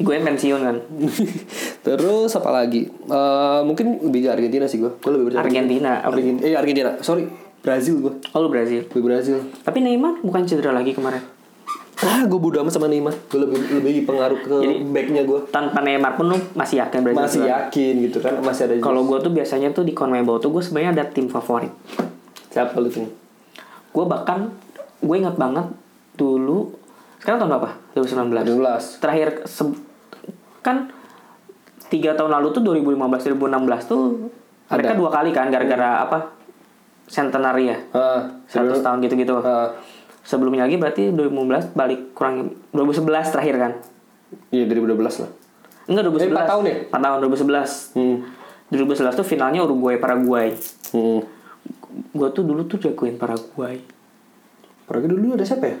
gue pensiun kan
Terus apa lagi? Eh, mungkin lebih ke Argentina sih gue. Gue lebih percaya
Argentina oh,
Argentina. Eh Argentina. Sorry, Brazil gue.
oh, lu Brazil
Lebih Brazil.
tapi Neymar bukan cedera lagi kemarin
Ah, gue bodo amat sama Neymar. Gue lebih lebih pengaruh ke
Jadi-
backnya gue.
tanpa Neymar pun lu masih yakin Brazil
Masih
juara?
yakin gitu kan? Masih ada.
kalau gue tuh biasanya tuh di CONMEBOL tuh gue sebenarnya ada tim favorit
siapa lu tuh?
gue bahkan gue ingat banget dulu sekarang tahun berapa 2019
18.
terakhir se- kan tiga tahun lalu tuh 2015 2016 tuh mereka
Ada.
dua kali kan gara-gara apa centenary ya
Ah,
satu
sebelum-
tahun gitu-gitu
ah,
sebelumnya lagi berarti 2015 balik kurang 2011 terakhir kan
Iya 2012 lah.
enggak 2011
Eh, empat tahun ya?
Empat tahun 2011
Hmm.
2011 tuh finalnya Uruguay Paraguay
Hmm.
gue tuh dulu tuh jagoin Paraguay
Apalagi dulu ada siapa ya?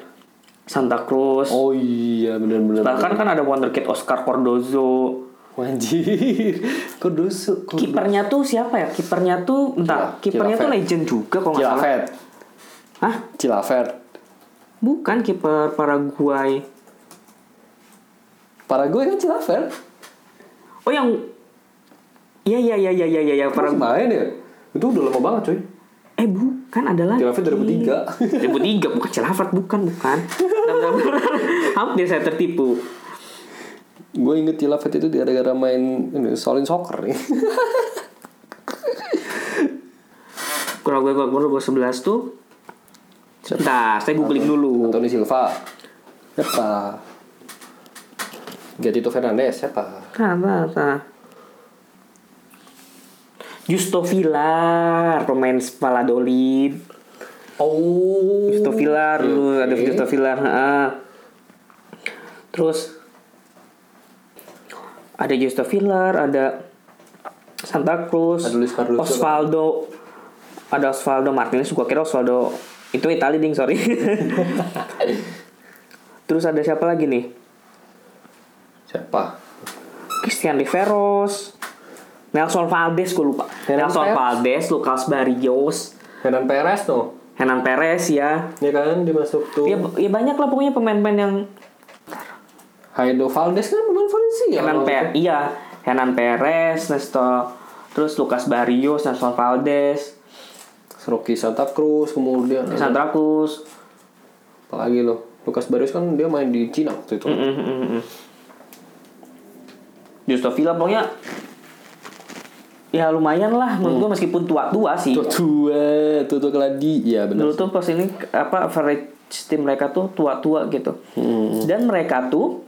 Santa Cruz
Oh iya benar-benar.
bahkan kan ada wonderkid Oscar Cordozo
Anjir. Kudus.
kipernya tuh siapa ya kipernya tuh bentar
Gila,
kipernya tuh
Gila Fett.
legend juga kok nggak salah
Cilavet.
Hah?
Cilavet.
Bukan kiper Paraguay.
Paraguay kan Cilavet.
Oh yang Iya iya iya iya iya iya ya,
Pernah
Paraguay.
main ya? Itu udah lama banget coy.
Eh bukan ada lagi.
Cilavet 2003.
2003 bukan Cilafat bukan bukan. Bentar, bentar, bentar. Hampir saya tertipu.
gue inget Cilavet itu gara-gara main ini, solin soccer nih.
Kurang gue kurang gue 11 tuh. Bentar, saya googling dulu.
Anthony Silva. Siapa? Gatito Fernandes siapa?
Nah, nah, nah. Justo Villar, pemain Valladolid.
Oh. Iya,
Justo Villar dulu ada
Oke.
Justo Villar. ah. Terus ada Justo Villar, ada Santa Cruz,
Ada Luis Carlos juga.
Osvaldo, ada Osvaldo Martinez. Gua kira Osvaldo itu Itali ding sorry. Terus ada siapa lagi nih?
Siapa?
Christian Riveros, Nelson Valdes gue lupa.
Hernan
Nelson
Perez.
Valdes, Lucas Barrios,
Hernan Perez tuh.
Henan Perez ya.
Ya kan dimasuk tuh.
Ya, ya banyak lah pokoknya pemain-pemain yang
Haido Valdes kan pemain Valencia.
Hernan
Kalau
Perez, iya Hernan Perez, Nestor, terus Lucas Barrios, Nelson Valdes,
itu. Rocky Santa Cruz kemudian
Sandra Cruz.
apalagi loh. Lukas Barrios kan dia main di Cina waktu itu.
Mm, mm, mm, mm. Justo Villa pokoknya ya lumayan lah menurut gue meskipun tua-tua sih.
Tuh tua, tuh tuh keladi. Iya
Dulu
benar.
tuh pas ini apa average tim mereka tuh tua-tua gitu. Dan mereka tuh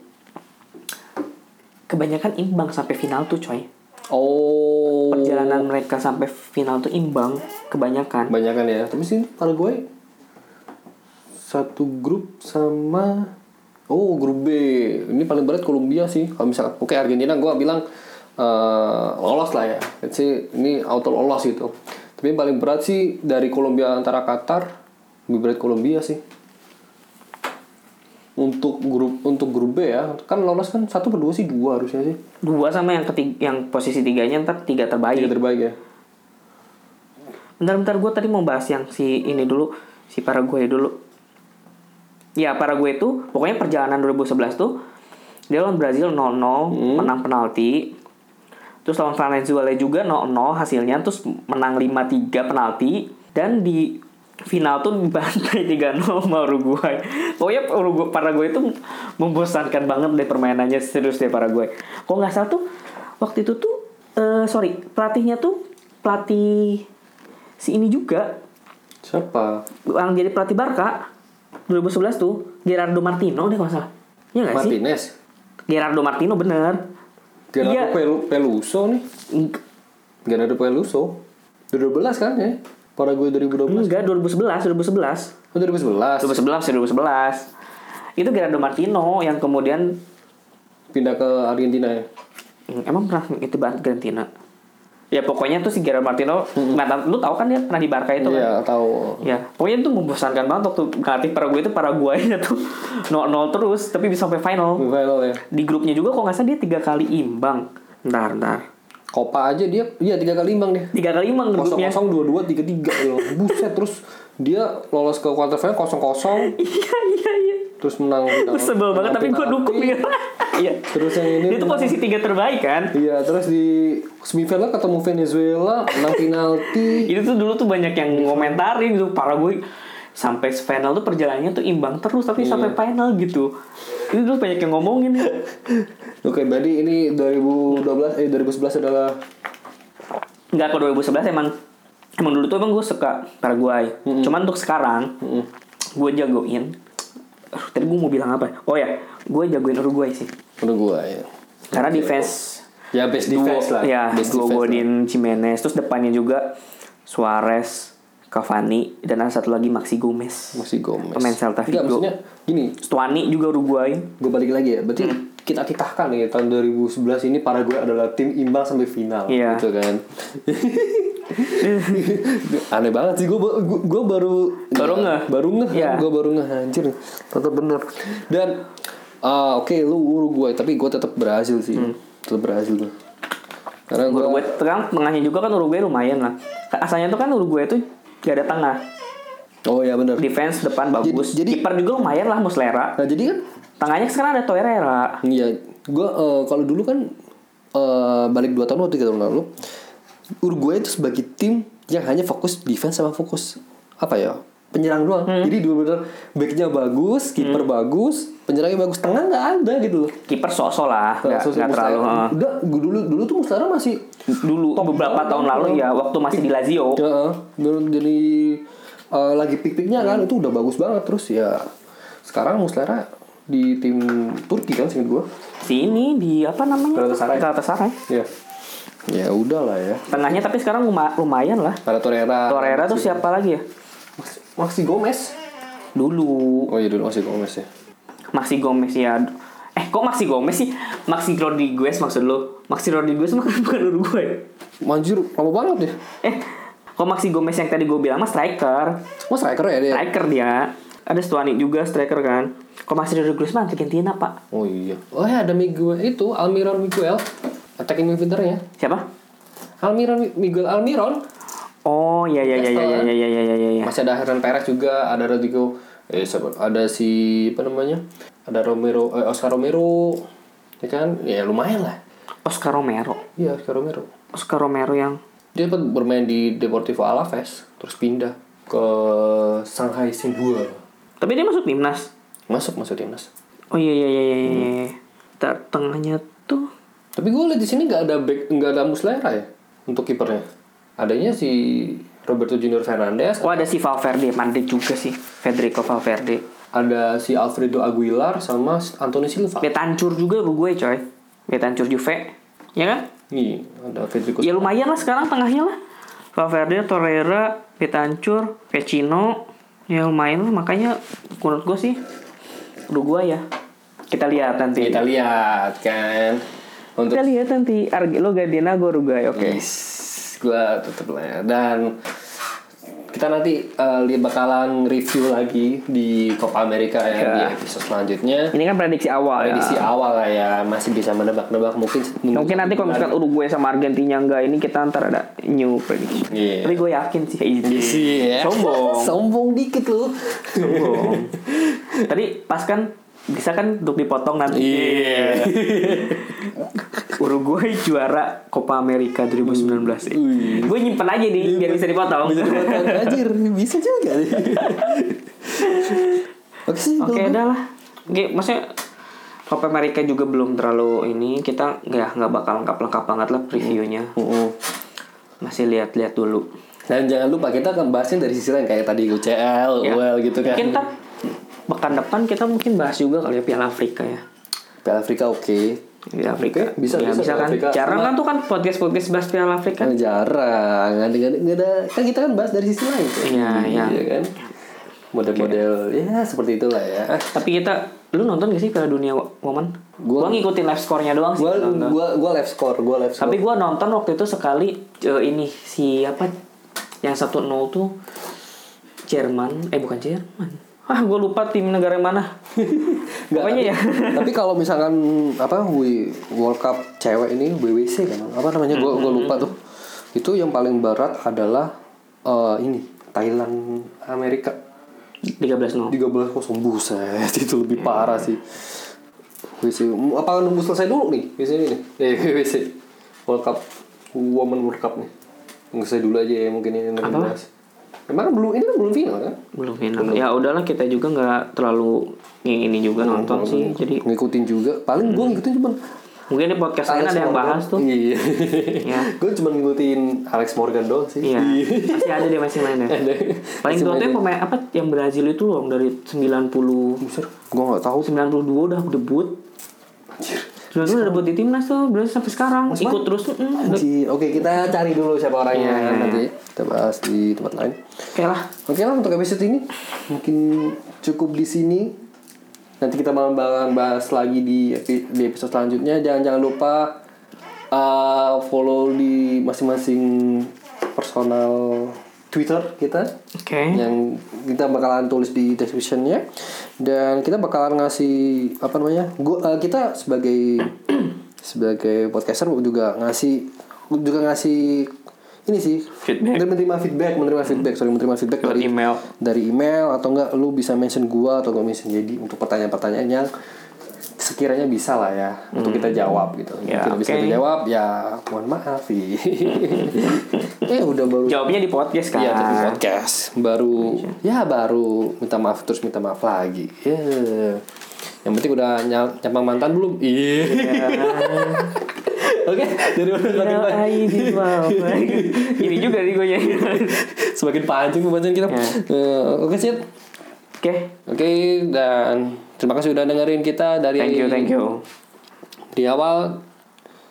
kebanyakan imbang sampai final tuh coy.
Oh.
Perjalanan mereka sampai final tuh imbang kebanyakan.
Kebanyakan ya. Tapi sih Paraguay satu grup sama oh grup B. Ini paling berat Kolombia sih. Kalau misalkan oke Argentina gua bilang eh, lolos lah ya. Let's say ini auto lolos gitu. Tapi yang paling berat sih dari Kolombia antara Qatar lebih berat Kolombia sih. Untuk grup untuk grup B ya kan lolos kan satu per dua sih dua harusnya sih
Dua sama yang ketiga, yang posisi tiganya ntar tiga terbaik.
tiga terbaik ya.
Bentar-bentar gue tadi mau bahas yang si ini dulu, si Paraguay dulu. Ya Paraguay itu pokoknya perjalanan 2011 tuh dia lawan Brazil 0-0, menang penalti. Terus lawan Venezuela juga 0-0 hasilnya terus menang 5-3 penalti dan di final tuh dibantai 3-0 sama Uruguay. Pokoknya Uruguay Paraguay itu membosankan banget deh permainannya serius deh Paraguay. Kok nggak salah tuh waktu itu tuh eh, sorry pelatihnya tuh pelatih si ini juga
Siapa?
yang jadi pelatih Barca 2011 tuh Gerardo Martino deh kalau nggak salah. Iya nggak sih?
Martinez.
Gerardo Martino bener.
Gerardo
Iya.
Pelu- Peluso nih.
Eng-
Gerardo Peluso 2012 kan ya Paraguay 2012
Enggak 2011, 2011.
Oh 2011
2011 2011 itu Gerardo Martino yang kemudian
Pindah ke Argentina ya
Hmm, emang pernah itu banget Argentina ya pokoknya tuh si Gerardo Martino mantan lu tahu kan dia pernah di Barca itu kan
Iya tahu
ya pokoknya itu membosankan banget waktu ngelatih Paraguay itu Paraguaynya tuh 0-0 terus tapi bisa sampai final
Final ya
di grupnya juga kok nggak salah dia tiga kali imbang ntar ntar
Copa aja dia Iya tiga kali imbang dia
tiga kali imbang
kosong
grupnya
kosong dua dua tiga tiga loh ya buset terus dia lolos ke quarter final kosong kosong
iya iya iya
terus menang
Gua sebel banget tapi gue dukung dia iya
terus yang ini
dia tuh posisi tiga terbaik kan
iya terus di semifinal ketemu Venezuela menang penalti
itu tuh dulu tuh banyak yang komentarin gitu para gue sampai final tuh perjalanannya tuh imbang terus tapi
Iya.
sampai final gitu itu dulu banyak yang ngomongin
oke berarti ini 2012 eh 2011 adalah
nggak ke 2011 emang emang dulu tuh emang gue suka Paraguay cuman untuk sekarang gue jagoin Aduh, tadi gue mau bilang apa ya? oh ya gue jagoin Uruguay sih
menurut gua ya
karena defense
Ya best defense lah.
ya
best
gue
defense lah.
godin Jimenez terus depannya juga Suarez Cavani dan ada satu lagi Maxi Gomez
Masih Gomez.
Pemain Celta
Enggak,
Vigo.
maksudnya gini,
Stuani juga Uruguay
gue balik lagi ya. Berarti
Hmm.
kita titahkan nih tahun 2011 ini Paraguay adalah tim imbang sampai final
Iya.
gitu kan. Aneh banget sih gue gue baru
Baru ngeh.
baru ngeh
Iya.
gue baru ngeh anjir tetap bener dan ah, oke lu Uruguay tapi gue tetap berhasil sih
Hmm.
tetap berhasil tuh karena gue
Uruguay kan tengahnya juga kan Uruguay lumayan lah. Asalnya tuh kan Uruguay tuh gak ada tengah.
oh ya bener
Defense depan bagus.
jadi-
Kiper juga lumayan lah Muslera.
nah jadi kan
Tengahnya sekarang ada Torreira.
Iya, gua eh, kalau dulu kan eh, balik 2 tahun atau 3 tahun lalu Uruguay itu sebagai tim yang hanya fokus defense sama fokus apa ya? Penyerang doang. Jadi dua bener backnya bagus, kiper bagus, penyerangnya bagus, tengah nggak ada gitu loh.
Kiper sok-sok lah, gak,
Sosok Muslera.
terlalu. eh.
Udah, gua dulu dulu tuh Muslera masih
Dulu beberapa tahun lalu ya waktu masih di Lazio.
Heeh, dulu jadi eh, lagi pik-piknya kan itu udah bagus banget terus ya. Sekarang Muslera di tim Turki kan seinget gua.
Si ini di apa namanya?
Galatasaray.
Galatasaray.
Ya. Ya udahlah ya.
Tengahnya tapi sekarang luma- lumayan lah.
Ada Torreira.
Torreira tuh siapa lagi ya?
Maxi Gomez.
Dulu
Oh iya dulu Maxi Gomez ya.
Maxi Gomez ya. Eh kok Maxi Gomez sih? Maxi Rodriguez maksud lo? Maxi Rodriguez mah bukan Uruguay.
Manjir lama banget ya.
Eh, kok Maxi Gomez yang tadi gue bilang mah striker.
Wah striker ya dia.
Striker dia. Ada Stuani juga striker kan. Kok Maxi Rodriguez mah Argentina, Pak.
Oh iya. Oh ya ada Miguel itu Almiron Miguel. Attacking midfieldernya.
Siapa?
Almiron Miguel Almiron.
Oh, iya iya iya iya iya iya iya iya iya.
Masih ada Hernan Perez juga, ada Rodrigo eh siapa- ada si apa namanya? Ada Romero eh, Oscar Romero. Ya kan? Ya lumayan lah.
Oscar Romero.
Iya, Oscar Romero.
Oscar Romero yang
Dia sempat bermain di Deportivo Alaves, terus pindah ke Shanghai Shenhua.
Tapi dia masuk timnas.
Masuk masuk timnas.
Oh iya iya iya iya. iya, iya. Tar- Tengahnya tuh
Tapi gue lihat di sini nggak ada back, nggak ada Muslera ya untuk kipernya. Adanya si Roberto Junior Fernandez,
Oh ada si Valverde, Madrid juga sih Federico Valverde
ada si Alfredo Aguilar sama Anthony Silva.
Betancur juga Uruguay coy Betancur Juve Ya kan?
Iya, ada Federico.
Ya lumayan lah sekarang tengahnya lah. Valverde, Torreira, Pitancur, Vecino. Ya lumayan lah makanya menurut gue sih Uruguay ya. Kita lihat nanti.
Kita lihat kan. Untuk
Kita lihat nanti Argelo Gardena gue Uruguay. Oke.
guys, gua tutup lah ya. Dan kita nanti eh, li- bakalan review lagi di Copa America ya,
Ya.
di episode selanjudnya.
Ini kan prediksi awal ya.
Prediksi awal lah ya, masih bisa menebak-nebak mungkin.
Mungkin nanti kalau misalkan Uruguay sama Argentina enggak ini kita ntar ada new prediction.
Iya.
Tapi gue yakin sih.
Isi ya.
Sombong.
Sombong dikit lu.
Sombong. Tadi pas kan bisa kan untuk dipotong nanti.
Iya.
Uruguay juara Copa America 2019
Hmm. Wih. Iya,
Gue nyimpen aja nih biar bisa dipotong.
Bisa dipotong anjir, bisa juga nih. Oke sih.
Oke,
kalau-
udah lah. Oke, maksudnya Copa America juga belum terlalu ini kita nggak nggak bakal lengkap-lengkap banget lah previewnya.
Mm-mm.
Masih lihat-lihat dulu.
Dan jangan lupa kita akan bahasnya dari sisi lain kayak tadi UCL,
Ya.
UEL gitu kan.
Mungkin ntar pekan depan kita mungkin bahas juga kali ya Piala Afrika ya.
Piala Afrika oke.
Piala Afrika.
Oke, bisa,
ya,
bisa,
bisa,
Piala
kan.
Afrika. Nah.
Jarang
Cuma-
kan tuh kan podcast-podcast bahas Piala Afrika.
Kan jarang, nggak ada, nggak ada- nggak ada, kan kita kan bahas dari sisi lain tuh.
Iya, iya.
kan. Model-model ya seperti itulah ya. Ah,
Tapi kita lu nonton gak sih Piala Dunia Women?
Gua-
Gua, ngikutin live score-nya doang sih.
Gua
nonton.
gua gua live score, gua live score.
Tapi gua nonton waktu itu sekali eh, ini si apa yang 1-0 tuh Jerman, eh bukan Jerman. Ah, gue lupa tim negara yang mana.
Nggak,
Pokoknya ya.
tapi, tapi kalau misalkan apa W- World Cup cewek ini WWC kan apa namanya gue lupa tuh itu yang paling barat adalah eh, ini Thailand Amerika
13-0.
13 kosong buset itu lebih parah sih WWC M- apa nunggu selesai dulu nih WWC ini eh WWC World Cup Women World Cup nih nunggu selesai dulu aja ya mungkin ini nanti
Apa?
bahas. emang kan belum ini kan belum final kan
Belum final. Ya udahlah kita juga nggak terlalu yang ini juga nonton sih. Jadi
ngikutin juga paling gue ngikutin cuman
mungkin di podcast lain ada yang bahas tuh.
Iya.
Ya.
gue cuma ngikutin Alex Morgan doang sih.
Iya. Masih ada deh masih main ya. Paling tua tuh yang pemain apa yang Brazil itu loh dari 90
Gue nggak tahu.
92 udah debut.
Anjir.
92 udah debut di timnas tuh Brazil sampai sekarang. Ikut terus tuh. mm,
Anjir. Oke kita cari dulu siapa orangnya
Iya.
nanti kita bahas di tempat lain.
Oke lah.
Oke lah untuk episode ini mungkin cukup di sini. Nanti kita bakalan bahas lagi di epi- di episode selanjutnya. Jangan jangan lupa uh, follow di masing-masing personal Twitter kita.
Oke.
yang kita bakalan tulis di descriptionnya dan kita bakalan ngasih apa namanya gua eh, kita sebagai sebagai podcaster juga ngasih juga ngasih ini sih
Feedback.
menerima feedback menerima feedback sorry menerima feedback
Lewat
dari
email.
dari email atau enggak lu bisa mention gua atau gua mention jadi untuk pertanyaan-pertanyaan yang sekiranya bisa lah ya untuk kita jawab gitu
Ya,
Kalau tidak bisa
oke.
dijawab ya mohon maaf ya eh udah baru
Jawabnya di podcast kan.
Iya, tapi podcast baru ya baru minta maaf terus minta maaf lagi. Yeah. Yang penting udah ny- nyapa mantan belum? Iya. Oke, dari mana semakin
Now
pan-
I did well. iya, Ini juga nih gue ya.
Iya.
nyanyi.
semakin pancing pembahasan kita.
Ya.
Eh, Oke, sip.
Oke,
Oke, dan terima kasih udah dengerin kita dari
thank you, thank you.
Di awal.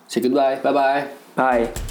Say goodbye. Bye bye.
Bye.